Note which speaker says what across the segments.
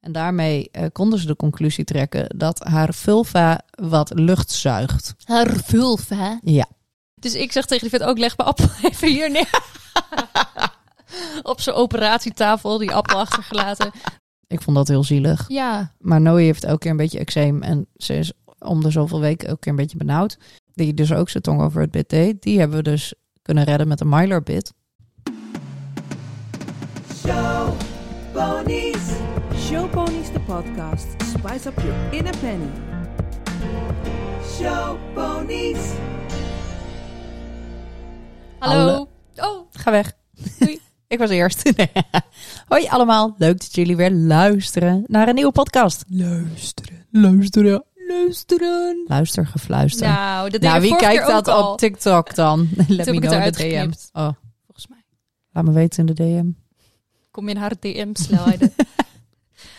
Speaker 1: En daarmee eh, konden ze de conclusie trekken dat haar vulva wat lucht zuigt.
Speaker 2: Haar vulva.
Speaker 1: Ja.
Speaker 2: Dus ik zeg tegen die vet ook, leg mijn appel even hier neer. Op zijn operatietafel, die appel achtergelaten.
Speaker 1: Ik vond dat heel zielig.
Speaker 2: Ja,
Speaker 1: Maar Noe heeft elke keer een beetje eczeem. En ze is om de zoveel weken elke keer een beetje benauwd. Die dus ook zijn tong over het bit deed. Die hebben we dus kunnen redden met een mylar bit.
Speaker 3: Show ponies.
Speaker 4: Show Ponies the podcast. Spice up your inner penny.
Speaker 3: Show ponies.
Speaker 2: hallo. Oh,
Speaker 1: Ga weg.
Speaker 2: Doei.
Speaker 1: Ik was eerst. Nee. Hoi allemaal. Leuk dat jullie weer luisteren naar een nieuwe podcast. Luisteren. Luisteren. Luisteren. Luister gefluister.
Speaker 2: nou, dat deed
Speaker 1: Nou,
Speaker 2: je
Speaker 1: wie
Speaker 2: vorige
Speaker 1: kijkt
Speaker 2: keer ook
Speaker 1: dat
Speaker 2: al.
Speaker 1: op TikTok dan? Let
Speaker 2: heb
Speaker 1: me
Speaker 2: ik het
Speaker 1: know in
Speaker 2: eruit
Speaker 1: de DM.
Speaker 2: geknipt.
Speaker 1: Oh,
Speaker 2: Volgens mij.
Speaker 1: laat me weten in de DM.
Speaker 2: Kom in haar DM-snelheden.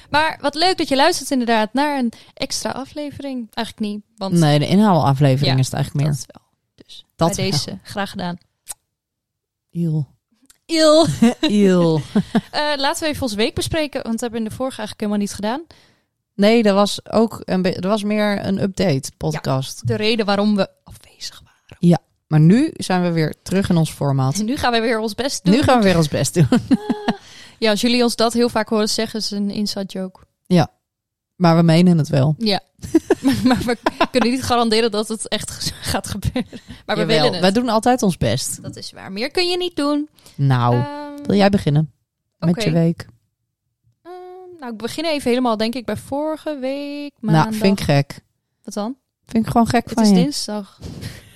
Speaker 2: maar wat leuk dat je luistert inderdaad naar een extra aflevering. Eigenlijk niet, want
Speaker 1: nee, de inhaalaflevering
Speaker 2: Ja,
Speaker 1: is het eigenlijk
Speaker 2: dat
Speaker 1: meer.
Speaker 2: is wel. Dus
Speaker 1: Dat
Speaker 2: bij deze, graag gedaan.
Speaker 1: Iel.
Speaker 2: Il.
Speaker 1: Iel.
Speaker 2: Eh, laten we even ons week bespreken, want dat hebben we in de vorige eigenlijk helemaal niet gedaan.
Speaker 1: Nee, dat was ook een be- dat was meer een update podcast.
Speaker 2: De reden waarom we afwezig waren.
Speaker 1: Maar nu zijn we weer terug in ons format.
Speaker 2: En nu gaan we weer ons best doen.
Speaker 1: Nu gaan we weer ons best doen.
Speaker 2: Ja, als jullie ons dat heel vaak horen zeggen, is een inside joke.
Speaker 1: Maar we menen het wel.
Speaker 2: Ja. maar, maar we kunnen niet garanderen dat het echt gaat gebeuren. Maar we
Speaker 1: Jawel,
Speaker 2: willen het.
Speaker 1: Wij doen altijd ons best.
Speaker 2: Dat is waar. Meer kun je niet doen.
Speaker 1: Nou,
Speaker 2: Ehm,
Speaker 1: wil jij beginnen met
Speaker 2: oké.
Speaker 1: je week?
Speaker 2: ehm, nou, ik begin even helemaal, denk ik, bij vorige week. Maandag.
Speaker 1: Nou, vind ik gek.
Speaker 2: Wat dan?
Speaker 1: Vind ik gewoon gek
Speaker 2: Het
Speaker 1: van
Speaker 2: is
Speaker 1: je.
Speaker 2: dinsdag.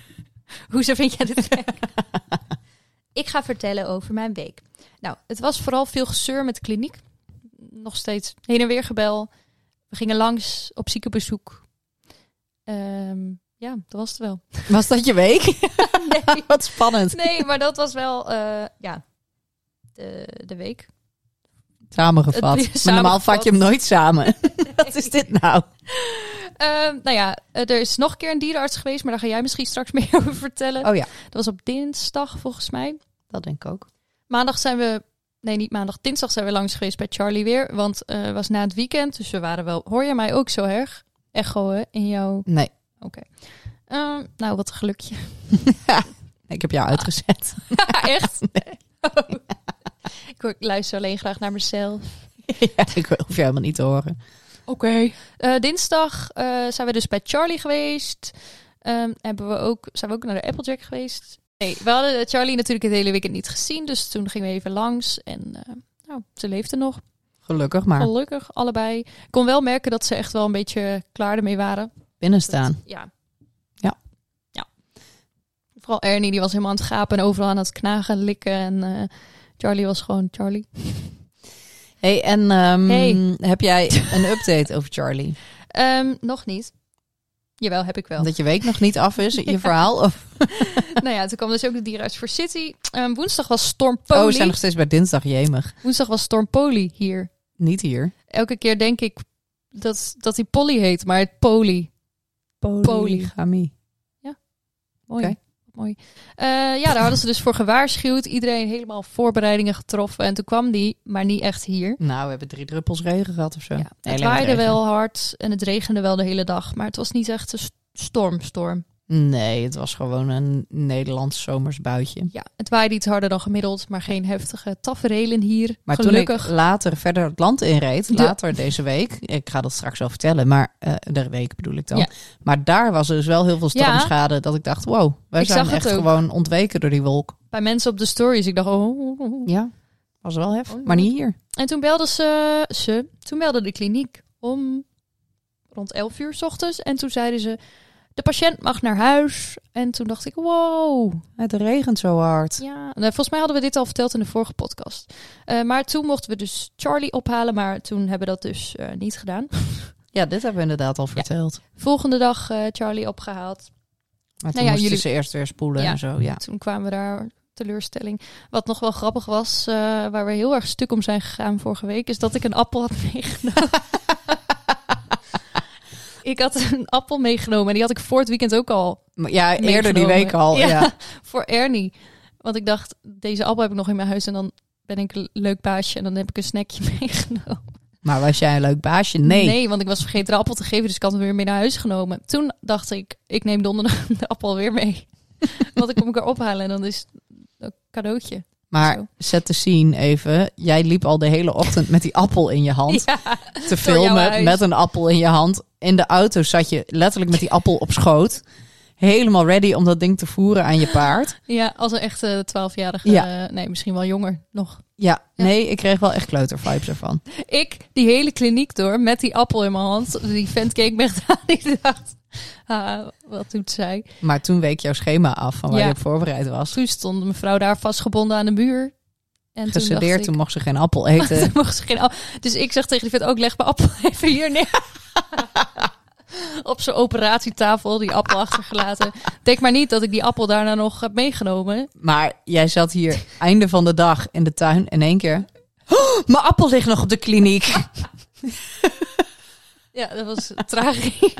Speaker 2: Hoezo vind jij dit gek? ik ga vertellen over mijn week. Nou, het was vooral veel gezeur met de kliniek. Nog steeds heen en weer gebel. We gingen langs op ziekenbezoek. Ehm, ja, dat was het wel.
Speaker 1: Was dat je week?
Speaker 2: Nee,
Speaker 1: Wat spannend.
Speaker 2: nee maar dat was wel eh, ja, de, de week.
Speaker 1: Samengevat.
Speaker 2: Het-
Speaker 1: Maar normaal
Speaker 2: samengevat.
Speaker 1: vat je hem nooit samen. Wat is dit nou?
Speaker 2: Ehm, nou ja, eh, er is nog een keer een dierenarts geweest, maar daar ga jij misschien straks meer over vertellen.
Speaker 1: Oh ja,
Speaker 2: Dat was op dinsdag volgens mij.
Speaker 1: dat denk ik ook.
Speaker 2: Maandag zijn we. Nee, niet maandag. Dinsdag zijn we langs geweest bij Charlie weer. Want eh, het was na het weekend. Dus we waren wel. Hoor je mij ook zo erg? Echo hè, in jouw.
Speaker 1: Nee,
Speaker 2: Ehm, nou, wat een gelukje.
Speaker 1: ik heb
Speaker 2: Ah.
Speaker 1: jou uitgezet.
Speaker 2: Echt? ik, hoor- ik luister alleen graag naar mezelf.
Speaker 1: ja, ik hoef je helemaal niet te horen.
Speaker 2: Oké. dinsdag eh, zijn we dus bij Charlie geweest. Ehm, hebben we ook, zijn we ook naar de Applejack geweest. Nee, we hadden Charlie natuurlijk het hele weekend niet gezien. Dus toen gingen we even langs. En eh, nou, ze leefde nog.
Speaker 1: Gelukkig maar.
Speaker 2: Gelukkig, allebei. Ik kon wel merken dat ze echt wel een beetje klaar ermee waren.
Speaker 1: Binnenstaan.
Speaker 2: Ja.
Speaker 1: Ja.
Speaker 2: Ja. Vooral Ernie, die was helemaal aan het gapen en overal aan het knagen, likken. En eh, Charlie was gewoon Charlie.
Speaker 1: hey, en ehm,
Speaker 2: Hey.
Speaker 1: heb jij een update over Charlie?
Speaker 2: Ehm, nog niet. Jawel, heb ik wel.
Speaker 1: Dat je week nog niet af is, je verhaal? Of...
Speaker 2: nou ja, toen kwam dus ook de dierenarts voor City. Ehm, woensdag was Storm
Speaker 1: Oh,
Speaker 2: Poli.
Speaker 1: we zijn nog steeds bij dinsdag, jemig.
Speaker 2: Woensdag was Storm Poli hier.
Speaker 1: Niet hier.
Speaker 2: Elke keer denk ik dat, dat hij Polly heet, maar het Poli.
Speaker 1: Polygamie.
Speaker 2: Mooi.
Speaker 1: Oké.
Speaker 2: Mooi. Eh, ja, daar hadden ze dus voor gewaarschuwd. Iedereen helemaal voorbereidingen getroffen. En toen kwam die, maar niet echt hier.
Speaker 1: Nou, we hebben drie druppels regen gehad of zo.
Speaker 2: Ja,
Speaker 1: Nee, alleen
Speaker 2: het
Speaker 1: maar
Speaker 2: waaide
Speaker 1: regen.
Speaker 2: wel hard en het regende wel de hele dag. Maar het was niet echt een s- storm, storm.
Speaker 1: Nee, het was gewoon een Nederlands zomers buitje.
Speaker 2: Ja, het waaide iets harder dan gemiddeld, maar geen heftige taferelen hier.
Speaker 1: Maar
Speaker 2: Gelukkig.
Speaker 1: toen ik later verder het land inreed,
Speaker 2: De-
Speaker 1: later deze week, ik ga dat straks wel vertellen, maar eh, de week bedoel ik dan.
Speaker 2: Ja.
Speaker 1: Maar daar was er dus wel heel veel
Speaker 2: Ja.
Speaker 1: stormschade dat ik dacht, wow, wij
Speaker 2: Ik
Speaker 1: zijn
Speaker 2: zag het
Speaker 1: echt
Speaker 2: ook.
Speaker 1: gewoon ontweken door die wolk.
Speaker 2: Bij mensen op de stories, ik dacht, oh, oh, oh, oh.
Speaker 1: Ja, was wel
Speaker 2: Oh,
Speaker 1: heftig,
Speaker 2: ja.
Speaker 1: maar niet hier.
Speaker 2: En toen belden ze, ze, toen belde de kliniek om rond 11 uur 's ochtends. En toen zeiden ze, de patiënt mag naar huis. En toen dacht ik, wow,
Speaker 1: Het regent zo hard.
Speaker 2: Ja, nou, volgens mij hadden we dit al verteld in de vorige podcast. Eh, maar toen mochten we dus Charlie ophalen, maar toen hebben we dat dus eh, niet gedaan.
Speaker 1: Ja, dit hebben we inderdaad al verteld.
Speaker 2: Volgende dag eh, Charlie opgehaald.
Speaker 1: Maar toen
Speaker 2: Nou ja,
Speaker 1: moesten
Speaker 2: jullie-
Speaker 1: ze eerst weer spoelen
Speaker 2: Ja.
Speaker 1: en zo, Oh ja.
Speaker 2: Toen kwamen we daar teleurstelling. Wat nog wel grappig was, eh, waar we heel erg stuk om zijn gegaan vorige week, is dat ik een appel had meegenomen. ik had een appel meegenomen en die had ik voor het weekend ook al
Speaker 1: Maar ja, eerder die
Speaker 2: meegenomen.
Speaker 1: week al, ja.
Speaker 2: Voor Ernie. Want ik dacht, deze appel heb ik nog in mijn huis en dan ben ik een leuk baasje en dan heb ik een snackje meegenomen.
Speaker 1: Maar was jij een leuk baasje? Nee.
Speaker 2: want ik was vergeten de appel te geven, dus ik had hem weer mee naar huis genomen. Toen dacht ik, ik neem donderdag de appel weer mee. want ik kom ik er ophalen en dan is het een cadeautje.
Speaker 1: Maar
Speaker 2: Zo.
Speaker 1: zet de scene even. Jij liep al de hele ochtend met die appel in je hand
Speaker 2: Ja,
Speaker 1: te
Speaker 2: jouw
Speaker 1: filmen.
Speaker 2: huis.
Speaker 1: Met een appel in je hand. In de auto zat je letterlijk met die appel op schoot. Helemaal ready om dat ding te voeren aan je paard.
Speaker 2: ja als een echte twaalfjarige,
Speaker 1: Ja.
Speaker 2: eh, nee, misschien wel jonger nog.
Speaker 1: Ja,
Speaker 2: Ja.
Speaker 1: nee, ik kreeg wel echt kleutervibes ervan.
Speaker 2: Ik die hele kliniek door met die appel in mijn hand. Die vent keek me echt aan. Ik dacht, ah, wat doet zij?
Speaker 1: Maar toen week jouw schema af van waar
Speaker 2: Ja.
Speaker 1: je op voorbereid was.
Speaker 2: Toen stond mevrouw daar vastgebonden aan de muur. En
Speaker 1: Gesedeerd, toen,
Speaker 2: toen dacht
Speaker 1: mocht ze geen appel
Speaker 2: ik,
Speaker 1: eten.
Speaker 2: toen mocht ze geen appel. Dus ik zeg tegen die vent ook, leg mijn appel even hier neer. Op zijn operatietafel, die appel achtergelaten. Denk maar niet dat ik die appel daarna nog heb meegenomen.
Speaker 1: Maar jij zat hier einde van de dag in de tuin in één keer. "Oh, mijn appel ligt nog op de kliniek.
Speaker 2: Ja, dat was tragisch.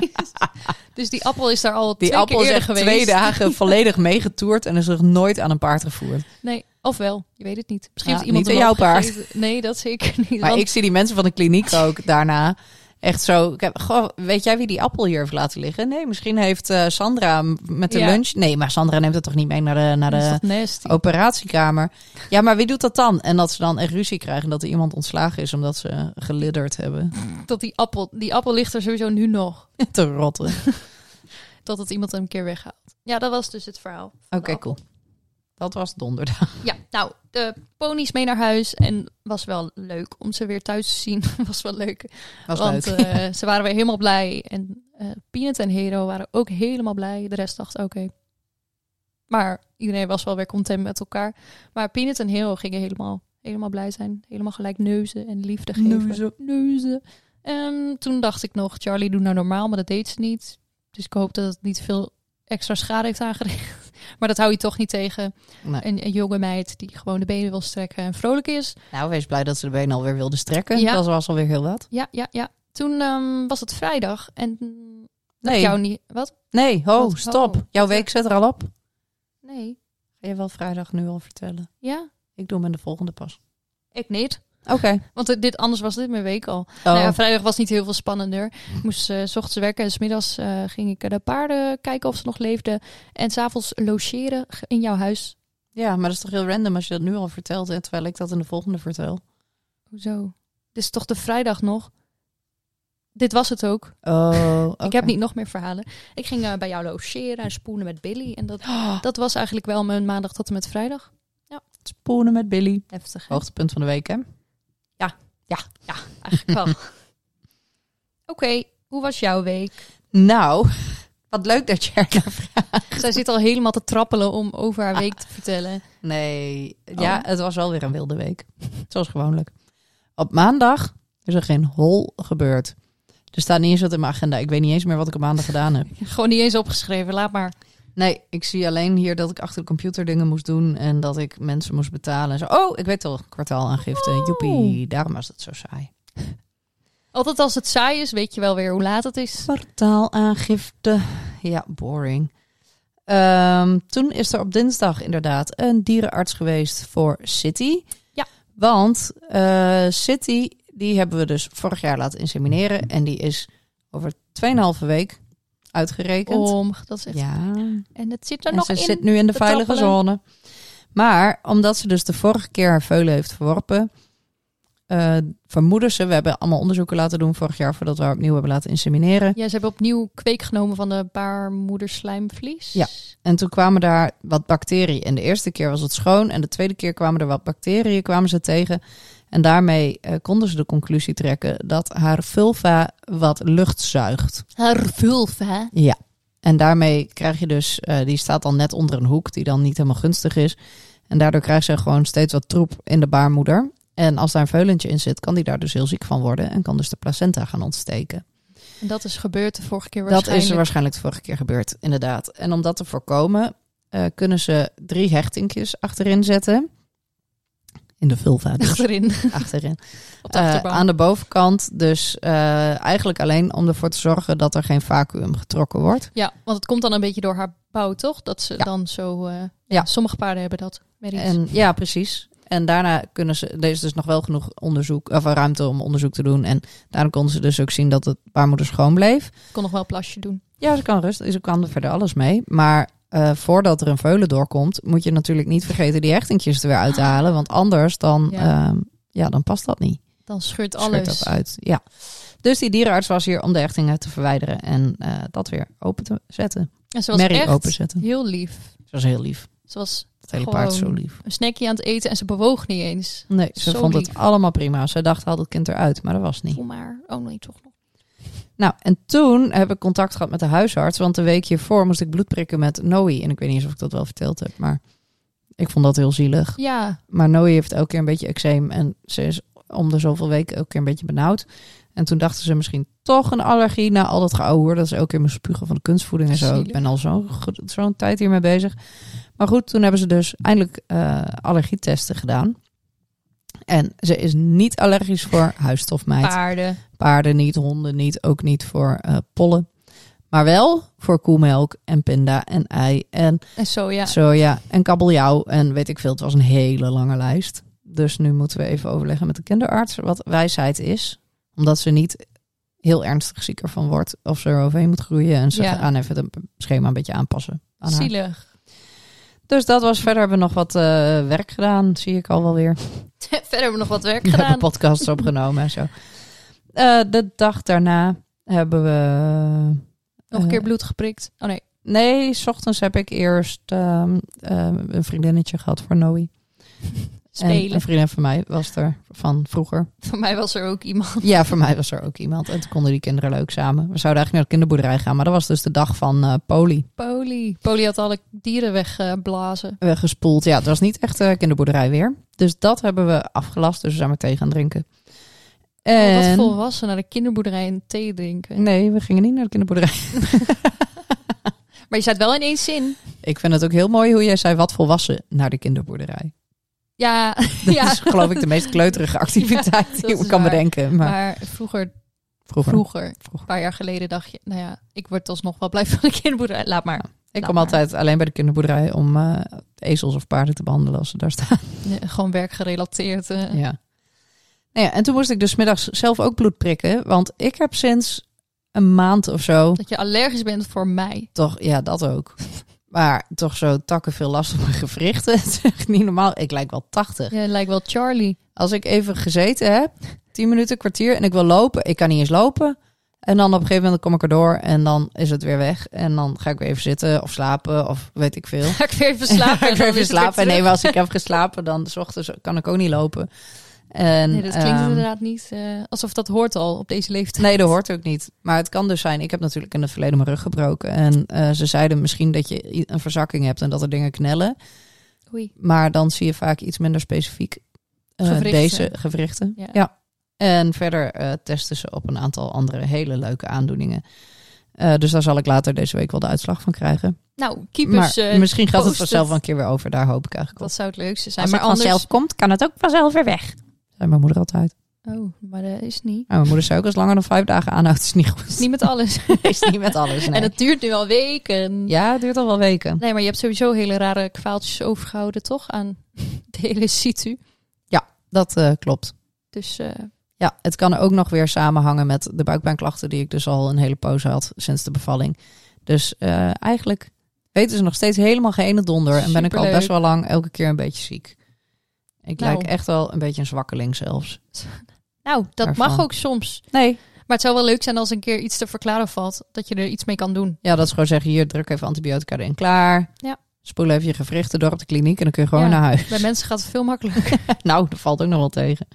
Speaker 2: Dus die appel is daar al
Speaker 1: Die
Speaker 2: twee
Speaker 1: appel
Speaker 2: keer
Speaker 1: is
Speaker 2: eerder
Speaker 1: echt
Speaker 2: geweest.
Speaker 1: twee dagen volledig meegetoerd en is nog nooit aan een paard gevoerd.
Speaker 2: Nee, ofwel, je weet het niet. Misschien
Speaker 1: Ja,
Speaker 2: heeft iemand
Speaker 1: niet
Speaker 2: hem
Speaker 1: aan
Speaker 2: ook
Speaker 1: jouw paard.
Speaker 2: gegeven. Nee, dat zeker niet.
Speaker 1: Maar
Speaker 2: want-
Speaker 1: ik zie die mensen van de kliniek ook daarna echt zo. ik heb- Goh, weet jij wie die appel hier heeft laten liggen? Nee, misschien heeft eh, Sandra hem met de
Speaker 2: Ja.
Speaker 1: lunch. Nee, maar Sandra neemt het toch niet mee naar de, naar
Speaker 2: dat is
Speaker 1: de
Speaker 2: toch
Speaker 1: oh.
Speaker 2: nasty.
Speaker 1: operatiekamer. Ja, maar wie doet dat dan? En dat ze dan echt ruzie krijgen dat er iemand ontslagen is omdat ze gelidderd hebben.
Speaker 2: Dat die appel, die appel ligt er sowieso nu nog.
Speaker 1: Te rotten.
Speaker 2: Dat het iemand hem een keer weghaalt. Ja, dat was dus het verhaal. van de
Speaker 1: Oké,
Speaker 2: appel.
Speaker 1: cool. Dat was donderdag.
Speaker 2: Ja, nou, de ponies mee naar huis. En was wel leuk om ze weer thuis te zien. was wel leuk.
Speaker 1: Was
Speaker 2: Want
Speaker 1: leuk.
Speaker 2: eh, ze waren weer helemaal blij. En eh Peanut en Hero waren ook helemaal blij. De rest dacht, oké. Maar iedereen was wel weer content met elkaar. Maar Peanut en Hero gingen helemaal, helemaal blij zijn. Helemaal gelijk neuzen en liefde geven.
Speaker 1: Neuzen.
Speaker 2: Neuzen. En toen dacht ik nog, Charlie, doe nou normaal. Maar dat deed ze niet. Dus ik hoop dat het niet veel extra schade heeft aangericht. Maar dat hou je toch niet tegen.
Speaker 1: Nee.
Speaker 2: Een, een jonge meid die gewoon de benen wil strekken en vrolijk is.
Speaker 1: Nou, wees blij dat ze de benen alweer wilde strekken.
Speaker 2: Ja.
Speaker 1: Dat was alweer heel wat.
Speaker 2: Ja, ja, ja. Toen ehm, was het vrijdag en mm, dacht
Speaker 1: Nee.
Speaker 2: jou niet... Wat?
Speaker 1: Nee, ho,
Speaker 2: Wat-
Speaker 1: stop.
Speaker 2: oh.
Speaker 1: Jouw week zit er al op.
Speaker 2: Nee.
Speaker 1: Ga je wel vrijdag nu al vertellen.
Speaker 2: Ja?
Speaker 1: Ik doe hem in de volgende pas.
Speaker 2: Ik niet.
Speaker 1: Oké.
Speaker 2: Want eh, dit, anders was dit mijn week al.
Speaker 1: Oh.
Speaker 2: Nou ja, vrijdag was niet heel veel spannender. Ik moest eh, s ochtends werken en smiddags eh, ging ik de paarden kijken of ze nog leefden. En s'avonds logeren ge- in jouw huis.
Speaker 1: Ja, maar dat is toch heel random als je dat nu al vertelt, hè, terwijl ik dat in de volgende vertel.
Speaker 2: Hoezo? Dit is toch de vrijdag nog? Dit was het ook.
Speaker 1: Oh,
Speaker 2: Ik heb niet nog meer verhalen. Ik ging eh, bij jou logeren en spoenen met Billy. En dat,
Speaker 1: Oh,
Speaker 2: dat was eigenlijk wel mijn maandag tot en met vrijdag.
Speaker 1: Spoenen met Billy.
Speaker 2: Heftig. hè?
Speaker 1: Hoogtepunt van de week, hè?
Speaker 2: Eigenlijk wel. Oké, hoe was jouw week?
Speaker 1: Nou, wat leuk dat je er naar vraagt.
Speaker 2: Zij zit al helemaal te trappelen om over haar week te vertellen.
Speaker 1: Nee, ja, het was wel weer een wilde week. Zoals gewoonlijk. Op maandag is er geen hol gebeurd. Er staat niet eens wat in mijn agenda. Ik weet niet eens meer wat ik op maandag gedaan heb.
Speaker 2: Gewoon niet eens opgeschreven, laat maar.
Speaker 1: Nee, ik zie alleen hier dat ik achter de computer dingen moest doen en dat ik mensen moest betalen. En zo. Oh, ik weet al, kwartaalaangifte.
Speaker 2: Oh.
Speaker 1: Joepie, daarom was het zo saai.
Speaker 2: Altijd als het saai is, weet je wel weer hoe laat het is.
Speaker 1: Kwartaalaangifte. Ja, boring. Ehm, toen is er op dinsdag inderdaad een dierenarts geweest voor City.
Speaker 2: Ja.
Speaker 1: Want eh, City, die hebben we dus vorig jaar laten insemineren. En die is over 2,5 week uitgerekend.
Speaker 2: Om, dat is Oh, echt...
Speaker 1: ja.
Speaker 2: En het zit er
Speaker 1: En
Speaker 2: nog
Speaker 1: ze
Speaker 2: in.
Speaker 1: zit nu in de
Speaker 2: te
Speaker 1: veilige
Speaker 2: trappelen.
Speaker 1: zone. Maar omdat ze dus de vorige keer haar veulen heeft verworpen, eh, vermoeden ze, we hebben allemaal onderzoeken laten doen vorig jaar voordat we haar opnieuw hebben laten insemineren.
Speaker 2: Ja, ze hebben opnieuw kweek genomen van de baarmoederslijmvlies.
Speaker 1: Ja. En toen kwamen daar wat bacteriën. En de eerste keer was het schoon en de tweede keer kwamen er wat bacteriën kwamen ze tegen. En daarmee eh, konden ze de conclusie trekken dat haar vulva wat lucht zuigt.
Speaker 2: Haar vulva.
Speaker 1: Ja. En daarmee krijg je dus, eh, die staat dan net onder een hoek die dan niet helemaal gunstig is. En daardoor krijgt ze gewoon steeds wat troep in de baarmoeder. En als daar een veulentje in zit, kan die daar dus heel ziek van worden en kan dus de placenta gaan ontsteken.
Speaker 2: En dat is gebeurd de vorige keer
Speaker 1: Dat is er
Speaker 2: waarschijnlijk.
Speaker 1: waarschijnlijk de vorige keer gebeurd, inderdaad. En om dat te voorkomen, eh, kunnen ze drie hechtingjes achterin zetten. In de vulva dus,
Speaker 2: achterin.
Speaker 1: achterin.
Speaker 2: Op de
Speaker 1: Eh,
Speaker 2: achterbank.
Speaker 1: aan de bovenkant dus eh, eigenlijk alleen om ervoor te zorgen dat er geen vacuüm getrokken wordt.
Speaker 2: Ja, want het komt dan een beetje door haar bouw, toch? Dat ze
Speaker 1: Ja.
Speaker 2: dan zo... eh,
Speaker 1: Ja.
Speaker 2: Sommige paarden hebben dat. merries.
Speaker 1: En, ja, precies. En daarna kunnen ze, er is dus nog wel genoeg onderzoek, of ruimte om onderzoek te doen. En daarom konden ze dus ook zien dat het baarmoeder schoon bleef.
Speaker 2: Ik kon nog wel een plasje doen.
Speaker 1: Ja, ze kan rustig, ze kan er verder alles mee. Maar eh, voordat er een veulen doorkomt, moet je natuurlijk niet vergeten die hechtingjes er weer uit te halen. Want anders dan,
Speaker 2: Ja.
Speaker 1: ja. ja, dan past dat niet.
Speaker 2: Dan scheurt
Speaker 1: Scheurt
Speaker 2: alles.
Speaker 1: dat uit. Ja. Dus die dierenarts was hier om de hechtingen te verwijderen en eh, dat weer open te zetten.
Speaker 2: En ze was
Speaker 1: Merrie
Speaker 2: echt
Speaker 1: openzetten.
Speaker 2: heel lief.
Speaker 1: Ze was heel lief.
Speaker 2: Ze was
Speaker 1: Het hele
Speaker 2: Gewoon.
Speaker 1: paard is zo lief.
Speaker 2: een snackje aan het eten en ze bewoog niet eens.
Speaker 1: Nee, ze
Speaker 2: Zo
Speaker 1: vond
Speaker 2: lief.
Speaker 1: het allemaal prima. Ze dacht, haal het kind eruit, maar dat was niet.
Speaker 2: Voel maar. Oh nee, toch nog.
Speaker 1: Nou, en toen heb ik contact gehad met de huisarts. Want de week hiervoor moest ik bloed prikken met Noe. En ik weet niet eens of ik dat wel verteld heb, maar ik vond dat heel zielig.
Speaker 2: Ja,
Speaker 1: Maar Noe heeft elke keer een beetje eczeem. En ze is om de zoveel weken elke keer een beetje benauwd. En toen dachten ze misschien toch een allergie na al dat geouwehoer. Dat is elke keer mijn spugen van de kunstvoeding en zo.
Speaker 2: Zielig.
Speaker 1: Ik ben al zo'n ge- zo'n tijd hiermee bezig. Maar goed, toen hebben ze dus eindelijk eh, allergietesten gedaan. En ze is niet allergisch voor huisstofmijt.
Speaker 2: paarden.
Speaker 1: Paarden niet, honden niet, ook niet voor eh, pollen. Maar wel voor koemelk en pinda en ei en
Speaker 2: En zo ja.
Speaker 1: soja en kabeljauw en weet ik veel. Het was een hele lange lijst. Dus nu moeten we even overleggen met de kinderarts wat wijsheid is. Omdat ze niet heel ernstig ziek ervan wordt of ze eroverheen moet groeien. En ze
Speaker 2: Ja.
Speaker 1: gaan even het schema een beetje aanpassen aan haar.
Speaker 2: Zielig.
Speaker 1: Dus dat was verder hebben we nog wat eh, werk gedaan, zie ik al wel weer.
Speaker 2: Verder hebben we nog wat werk
Speaker 1: We
Speaker 2: gedaan.
Speaker 1: hebben podcasts opgenomen en zo. Eh, de dag daarna hebben we...
Speaker 2: Nog een
Speaker 1: eh,
Speaker 2: keer bloed geprikt. Oh nee.
Speaker 1: Nee, s ochtends heb ik eerst ehm, ehm, een vriendinnetje gehad voor Noe. En
Speaker 2: Spelen.
Speaker 1: een vriendin van mij was er van vroeger.
Speaker 2: Voor mij was er ook iemand.
Speaker 1: Ja, voor mij was er ook iemand. En toen konden die kinderen leuk samen. We zouden eigenlijk naar de kinderboerderij gaan, maar dat was dus de dag van eh poli.
Speaker 2: Poli. Poli had alle dieren wegblazen.
Speaker 1: Eh, gespoeld. Ja, het was niet echt eh, kinderboerderij weer. Dus dat hebben we afgelast. Dus we zijn maar thee gaan drinken.
Speaker 2: En...
Speaker 1: En...
Speaker 2: Oh, Wat volwassen naar de kinderboerderij en thee drinken.
Speaker 1: Nee, we gingen niet naar de kinderboerderij.
Speaker 2: Maar je staat wel in één zin.
Speaker 1: Ik vind het ook heel mooi hoe jij zei wat volwassen naar de kinderboerderij.
Speaker 2: Ja,
Speaker 1: Dat
Speaker 2: ja.
Speaker 1: is geloof ik de meest kleuterige activiteit
Speaker 2: Ja, dat
Speaker 1: die
Speaker 2: is
Speaker 1: ik kan
Speaker 2: waar.
Speaker 1: bedenken. Maar,
Speaker 2: Maar vroeger,
Speaker 1: vroeger.
Speaker 2: vroeger, een
Speaker 1: Vroeger.
Speaker 2: paar jaar geleden dacht je, nou ja, ik word alsnog wel blij van de kinderboerderij. Laat maar.
Speaker 1: Ik
Speaker 2: Laat
Speaker 1: kom
Speaker 2: Nou maar.
Speaker 1: altijd alleen bij de kinderboerderij om eh, ezels of paarden te behandelen als ze daar staan.
Speaker 2: Ja, gewoon werkgerelateerd. eh.
Speaker 1: Ja. Nou ja, en toen moest ik dus 's middags zelf ook bloed prikken. Want ik heb sinds een maand of zo
Speaker 2: Dat je allergisch bent voor mij.
Speaker 1: toch, ja, dat ook. Maar toch zo takken veel last van mijn gewrichten. Het is echt niet normaal. Ik lijk wel 80.
Speaker 2: Je lijkt wel Charlie.
Speaker 1: Als ik even gezeten heb, 10 minuten, kwartier, en ik wil lopen, ik kan niet eens lopen. En dan op een gegeven moment kom ik erdoor en dan is het weer weg. En dan ga ik weer even zitten of slapen of weet ik veel.
Speaker 2: Ga ik weer even slapen?
Speaker 1: ik wil
Speaker 2: dan is
Speaker 1: even
Speaker 2: het weer
Speaker 1: slapen.
Speaker 2: terug.
Speaker 1: Nee, maar als ik heb geslapen, dan s ochtends kan ik ook niet lopen. En,
Speaker 2: Nee, dat klinkt
Speaker 1: ehm,
Speaker 2: inderdaad niet eh, alsof dat hoort al op deze leeftijd.
Speaker 1: Nee, dat hoort ook niet. Maar het kan dus zijn, ik heb natuurlijk in het verleden mijn rug gebroken. En eh, ze zeiden misschien dat je i- een verzakking hebt en dat er dingen knellen.
Speaker 2: Oei.
Speaker 1: Maar dan zie je vaak iets minder specifiek eh,
Speaker 2: Gewrichten.
Speaker 1: deze gewrichten.
Speaker 2: Ja.
Speaker 1: En verder eh, testen ze op een aantal andere hele leuke aandoeningen. Eh, dus daar zal ik later deze week wel de uitslag van krijgen.
Speaker 2: Nou, keepers,
Speaker 1: maar
Speaker 2: eh,
Speaker 1: misschien gaat het
Speaker 2: post
Speaker 1: vanzelf
Speaker 2: het.
Speaker 1: wel een keer weer over. Daar hoop ik eigenlijk op.
Speaker 2: dat zou het leukste zijn.
Speaker 1: Als
Speaker 2: maar
Speaker 1: het
Speaker 2: anders...
Speaker 1: vanzelf komt, kan het ook vanzelf weer weg. Zei mijn moeder altijd.
Speaker 2: Oh, maar dat is niet.
Speaker 1: Nou, mijn moeder zei ook, als het langer dan vijf dagen aanhoudt, is het niet goed.
Speaker 2: Het is niet met alles.
Speaker 1: Is niet met alles, nee.
Speaker 2: En het duurt nu al weken.
Speaker 1: Ja, het duurt al wel weken.
Speaker 2: Nee, maar je hebt sowieso hele rare kwaaltjes overgehouden, toch? Aan de hele situ.
Speaker 1: Dat eh, klopt.
Speaker 2: Dus eh,
Speaker 1: Ja, het kan ook nog weer samenhangen met de buikpijnklachten die ik dus al een hele poos had sinds de bevalling. Dus eh, eigenlijk weten ze nog steeds helemaal geen ene donder. En ben ik al
Speaker 2: Superleuk.
Speaker 1: best wel lang elke keer een beetje ziek. Ik
Speaker 2: Nou.
Speaker 1: lijk echt wel een beetje een zwakkeling zelfs.
Speaker 2: nou, dat
Speaker 1: Daarvan.
Speaker 2: mag ook soms.
Speaker 1: Nee.
Speaker 2: Maar het zou wel leuk zijn als een keer iets te verklaren valt. Dat je er iets mee kan doen.
Speaker 1: Ja, dat is gewoon zeggen, hier druk even antibiotica erin, klaar.
Speaker 2: Ja.
Speaker 1: Spoel even je gewrichten door op de kliniek en dan kun je gewoon
Speaker 2: Ja.
Speaker 1: naar huis.
Speaker 2: Bij mensen gaat het veel makkelijker.
Speaker 1: Nou, dat valt ook nog wel tegen.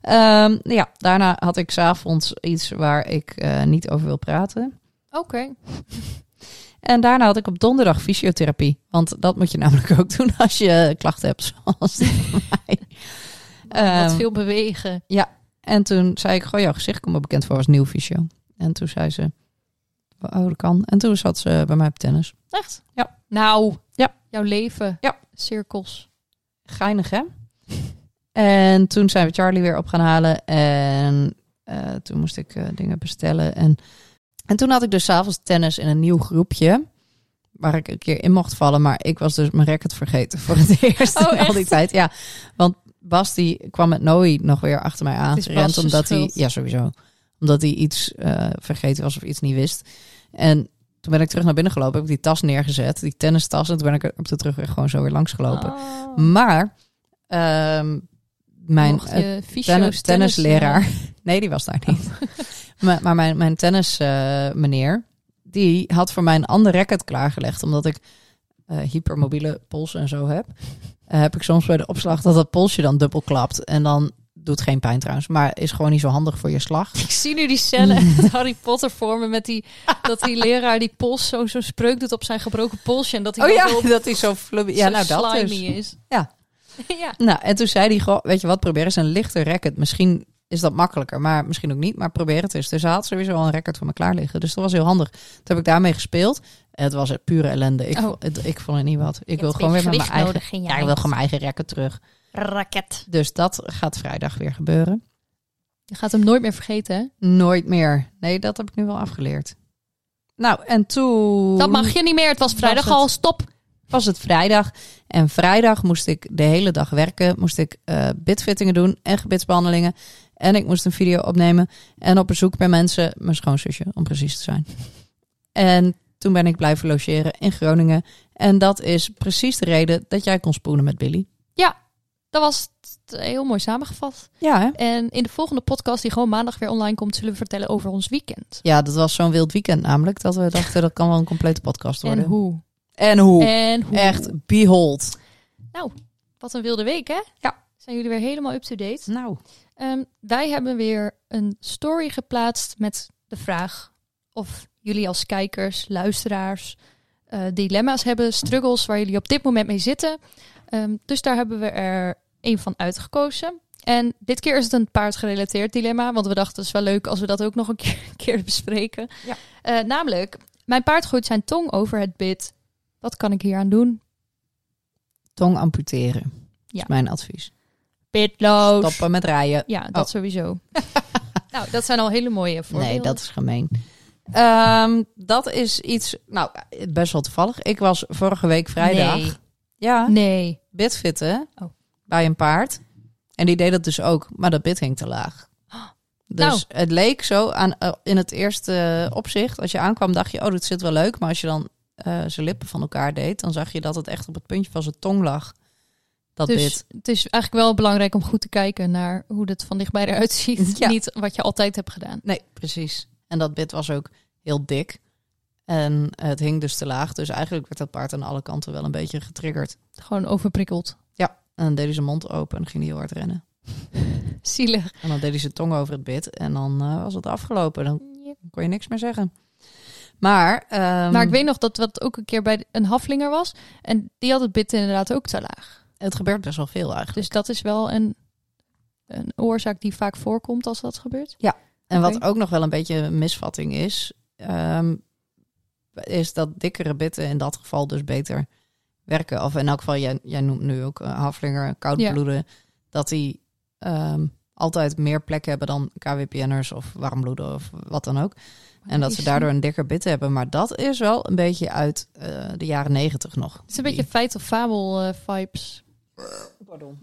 Speaker 1: Ehm, ja, daarna had ik s'avonds iets waar ik eh, niet over wil praten.
Speaker 2: Oké.
Speaker 1: En daarna had ik op donderdag fysiotherapie. Want dat moet je namelijk ook doen als je klachten hebt, zoals die van mij.
Speaker 2: Oh, Wat
Speaker 1: Ehm,
Speaker 2: veel bewegen.
Speaker 1: En toen zei ik, goh, jouw gezicht komt me bekend voor als nieuw fysio. En toen zei ze, oh, dat kan. En toen zat ze bij mij op tennis.
Speaker 2: Echt?
Speaker 1: Ja.
Speaker 2: Nou,
Speaker 1: Ja.
Speaker 2: jouw leven.
Speaker 1: Ja.
Speaker 2: Cirkels.
Speaker 1: Geinig, hè? En toen zijn we Charlie weer op gaan halen. En eh, toen moest ik eh, dingen bestellen. En, en toen had ik dus s'avonds tennis in een nieuw groepje. waar ik een keer in mocht vallen. Maar ik was dus mijn racket vergeten voor het eerst
Speaker 2: Oh,
Speaker 1: in al die
Speaker 2: echt?
Speaker 1: tijd. Ja, want Bas die kwam met Nooi nog weer achter mij aan.
Speaker 2: Het is Bas'
Speaker 1: gerend, omdat hij,
Speaker 2: schuld.
Speaker 1: ja sowieso, omdat hij iets eh, vergeten was of iets niet wist. En toen ben ik terug naar binnen gelopen, heb ik die tas neergezet, die tennistas. En toen ben ik er op de terugweg gewoon zo weer langs gelopen.
Speaker 2: Oh.
Speaker 1: Maar ehm, mijn
Speaker 2: Mocht
Speaker 1: eh,
Speaker 2: je fysio's,
Speaker 1: tennis, tennisleraar.
Speaker 2: tennis-
Speaker 1: Nee, die was daar niet. maar, maar mijn, mijn tennis eh, meneer, die had voor mij een ander racket klaargelegd. Omdat ik eh, hypermobiele polsen en zo heb. Eh, heb ik soms bij de opslag dat dat polsje dan dubbel klapt. En dan doet geen pijn trouwens. Maar is gewoon niet zo handig voor je slag.
Speaker 2: Ik zie nu die cellen uit Harry Potter vormen met die dat die leraar die pols zo zo'n spreuk doet op zijn gebroken polsje en dat hij dan zo-
Speaker 1: dat is zo flubby. Oh Ja,
Speaker 2: Oh zo
Speaker 1: nou dat
Speaker 2: slimy
Speaker 1: dus.
Speaker 2: is.
Speaker 1: Ja.
Speaker 2: ja.
Speaker 1: Nou, en toen zei hij gewoon, weet je wat, probeer eens een lichter racket. Misschien is dat makkelijker, maar misschien ook niet. Maar probeer het eens. Dus hij had sowieso al een racket voor me klaar liggen. Dus dat was heel handig. Toen heb ik daarmee gespeeld. Het was echt pure ellende. Ik,
Speaker 2: Oh.
Speaker 1: vond, het- ik vond het niet wat. Ik wil gewoon weer met mijn eigen... Ja, ik wil gewoon mijn eigen racket terug.
Speaker 2: raket.
Speaker 1: Dus dat gaat vrijdag weer gebeuren.
Speaker 2: Je gaat hem nooit meer vergeten, hè?
Speaker 1: Nooit meer. Nee, dat heb ik nu wel afgeleerd. Nou, en toen...
Speaker 2: Dat mag je niet meer. Het was vrijdag
Speaker 1: Was het-
Speaker 2: al. Stop.
Speaker 1: was het vrijdag. En vrijdag moest ik de hele dag werken. Moest ik eh bitfittingen doen en gebitsbehandelingen. En ik moest een video opnemen. En op bezoek bij mensen, mijn schoonzusje om precies te zijn. En toen ben ik blijven logeren in Groningen. En dat is precies de reden dat jij kon spoelen met Billy.
Speaker 2: Dat was het eh, heel mooi samengevat.
Speaker 1: Ja, hè?
Speaker 2: En in de volgende podcast die gewoon maandag weer online komt, zullen we vertellen over ons weekend.
Speaker 1: Ja, dat was zo'n wild weekend namelijk. Dat we dachten, dat kan wel een complete podcast worden.
Speaker 2: En hoe.
Speaker 1: En hoe?
Speaker 2: En hoe.
Speaker 1: Echt, behold.
Speaker 2: Wat een wilde week, hè?
Speaker 1: Ja.
Speaker 2: Zijn jullie weer helemaal up-to-date?
Speaker 1: Nou,
Speaker 2: Ehm, wij hebben weer een story geplaatst met de vraag of jullie als kijkers, luisteraars, eh, dilemma's hebben, struggles waar jullie op dit moment mee zitten. Ehm, dus daar hebben we er één van uitgekozen. En dit keer is het een paardgerelateerd dilemma, want we dachten het is wel leuk als we dat ook nog een keer, een keer bespreken.
Speaker 1: Ja.
Speaker 2: Eh, namelijk, mijn paard gooit zijn tong over het bit. Wat kan ik hieraan doen?
Speaker 1: tong amputeren.
Speaker 2: Ja.
Speaker 1: Is mijn advies.
Speaker 2: Pitloos.
Speaker 1: Stoppen met rijden.
Speaker 2: Ja, dat sowieso. nou, dat zijn al hele mooie voorbeelden.
Speaker 1: Oh. Nee, dat is gemeen. Ehm, dat is iets, nou, best wel toevallig. Ik was vorige week vrijdag,
Speaker 2: Nee.
Speaker 1: ja,
Speaker 2: Nee.
Speaker 1: bitfitten
Speaker 2: Oh.
Speaker 1: bij een paard. En die deed dat dus ook, maar dat bit hing te laag. Dus
Speaker 2: Nou.
Speaker 1: het leek zo aan, eh, in het eerste eh, opzicht, als je aankwam dacht je, oh, dit zit wel leuk. Maar als je dan eh, zijn lippen van elkaar deed, dan zag je dat het echt op het puntje van zijn tong lag. Dat
Speaker 2: Dus
Speaker 1: bit.
Speaker 2: het is eigenlijk wel belangrijk om goed te kijken naar hoe dat van dichtbij eruit ziet.
Speaker 1: Ja.
Speaker 2: Niet wat je altijd hebt gedaan.
Speaker 1: Nee, precies. En dat bit was ook heel dik. En het hing dus te laag. Dus eigenlijk werd dat paard aan alle kanten wel een beetje getriggerd.
Speaker 2: Gewoon overprikkeld.
Speaker 1: En dan deed hij zijn mond open en ging hij heel hard rennen.
Speaker 2: Zielig.
Speaker 1: En dan deed hij zijn tong over het bit. En dan eh, was het afgelopen. Dan kon je niks meer zeggen. Maar, ehm,
Speaker 2: maar ik weet nog dat dat ook een keer bij een haflinger was. En die had het bit inderdaad ook te laag.
Speaker 1: het gebeurt best wel veel eigenlijk.
Speaker 2: Dus dat is wel een, een oorzaak die vaak voorkomt als dat gebeurt.
Speaker 1: En wat
Speaker 2: Oké.
Speaker 1: ook nog wel een beetje een misvatting is, ehm, is dat dikkere bitten in dat geval dus beter werken. Of in elk geval, jij, jij noemt nu ook eh, haflinger, koudbloeden, dat die ehm, altijd meer plek hebben dan KWPN'ers of warmbloeden of wat dan ook. En dat ze daardoor een dikker bit hebben. Maar dat is wel een beetje uit eh, de jaren negentig nog.
Speaker 2: Het is een beetje feit of fabel eh, vibes.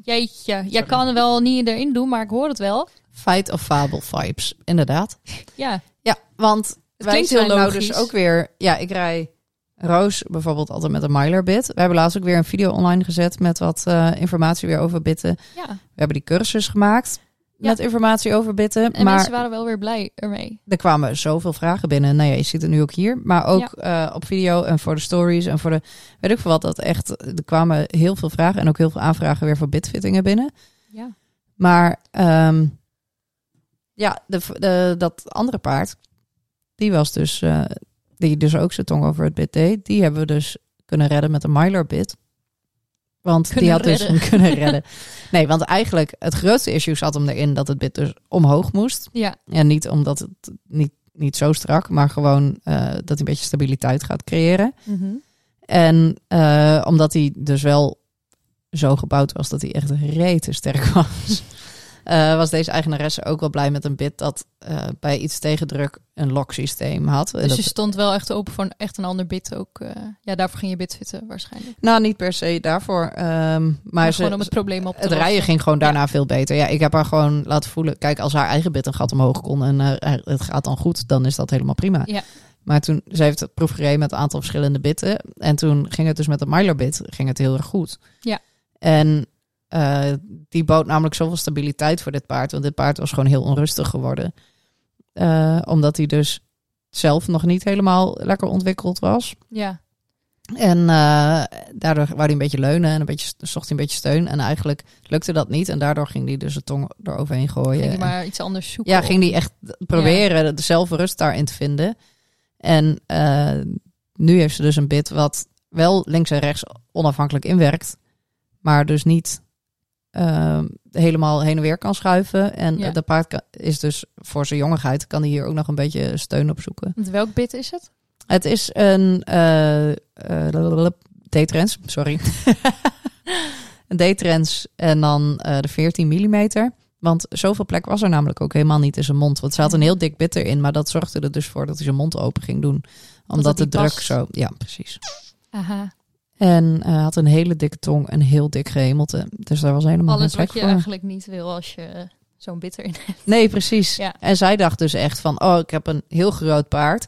Speaker 2: Jeetje, jij kan er wel niet erin doen, maar ik hoor het wel.
Speaker 1: Feit of fabel vibes, inderdaad.
Speaker 2: Ja,
Speaker 1: Ja, want
Speaker 2: het
Speaker 1: wij
Speaker 2: klinkt heel
Speaker 1: zijn nou
Speaker 2: logisch.
Speaker 1: dus ook weer... Ja, ik rij Roos bijvoorbeeld altijd met een Myler bit. We hebben laatst ook weer een video online gezet met wat eh, informatie weer over bitten.
Speaker 2: Ja,
Speaker 1: We hebben die cursus gemaakt
Speaker 2: Ja.
Speaker 1: met informatie over bitten.
Speaker 2: en
Speaker 1: maar
Speaker 2: mensen waren wel weer blij ermee.
Speaker 1: er kwamen zoveel vragen binnen. Nou ja, je ziet het nu ook hier. Maar ook eh, op video en voor de stories en voor de... Weet ik veel wat, dat echt... Er kwamen heel veel vragen en ook heel veel aanvragen weer voor bitfittingen binnen.
Speaker 2: Ja.
Speaker 1: Maar ehm, ja, de, de, dat andere paard, die was dus, eh, die dus ook zijn tong over het bit deed, die hebben we dus kunnen redden met een Mylar bit. Want die
Speaker 2: Kunnen
Speaker 1: had dus
Speaker 2: redden.
Speaker 1: kunnen redden. Nee, want eigenlijk het grootste issue zat hem erin dat het bit dus omhoog moest.
Speaker 2: Ja,
Speaker 1: En niet omdat het niet, niet zo strak, maar gewoon eh, dat hij een beetje stabiliteit gaat creëren.
Speaker 2: Mhm.
Speaker 1: En eh, omdat hij dus wel zo gebouwd was dat hij echt rete sterk was. eh, was deze eigenaresse ook wel blij met een bid dat eh, bij iets tegendruk een loksysteem had. En
Speaker 2: Dus
Speaker 1: dat-
Speaker 2: je stond wel echt open voor een, echt een ander bid ook. eh, ja, daarvoor ging je bid zitten waarschijnlijk.
Speaker 1: Nou, niet per se daarvoor. ehm, maar
Speaker 2: Maar
Speaker 1: ze,
Speaker 2: gewoon om het probleem op te
Speaker 1: het rijden
Speaker 2: lossen.
Speaker 1: ging gewoon daarna veel beter. Ja, ik heb haar gewoon laten voelen. Kijk, als haar eigen bit een gat omhoog kon en eh, het gaat dan goed, dan is dat helemaal prima.
Speaker 2: Ja.
Speaker 1: Maar toen, ze heeft het proef gereden met een aantal verschillende bitten. En toen ging het dus met de Mylar bit, ging het heel erg goed.
Speaker 2: Ja.
Speaker 1: En eh, die bood namelijk zoveel stabiliteit voor dit paard. Want dit paard was gewoon heel onrustig geworden. Eh, omdat hij dus zelf nog niet helemaal lekker ontwikkeld was.
Speaker 2: Ja,
Speaker 1: Oh, En eh, daardoor wou hij een beetje leunen en een beetje, zocht hij een beetje steun. En eigenlijk lukte dat niet. En daardoor ging hij dus de tong eroverheen gooien.
Speaker 2: ging
Speaker 1: En-
Speaker 2: je maar iets anders zoeken.
Speaker 1: ja,
Speaker 2: op.
Speaker 1: ging hij echt proberen de zelf rust daarin te vinden. En eh, nu heeft ze dus een bit wat wel links en rechts onafhankelijk inwerkt. Maar dus niet eh, helemaal heen en weer kan schuiven. En
Speaker 2: Ja.
Speaker 1: eh, dat paard kan- is dus voor zijn jongigheid, kan hij hier ook nog een beetje steun op zoeken.
Speaker 2: Want Welk bid is het?
Speaker 1: Het is een eh eh D-trends, sorry. een D-trends en dan eh, de 14 mm. Want zoveel plek was er namelijk ook helemaal niet in zijn mond. Want ze had een heel dik bitter in, maar dat zorgde er dus voor dat hij zijn mond open ging doen. Omdat
Speaker 2: het
Speaker 1: de
Speaker 2: niet
Speaker 1: druk
Speaker 2: past.
Speaker 1: zo... Ja, precies.
Speaker 2: Aha.
Speaker 1: En eh, had een hele dikke tong en heel dik gehemelte. Dus daar was helemaal
Speaker 2: Alles
Speaker 1: geen
Speaker 2: wat
Speaker 1: plek
Speaker 2: je
Speaker 1: voor.
Speaker 2: eigenlijk niet wil als je eh, zo'n bitter in hebt.
Speaker 1: Nee, precies.
Speaker 2: Ja.
Speaker 1: En zij dacht dus echt van, oh, ik heb een heel groot paard.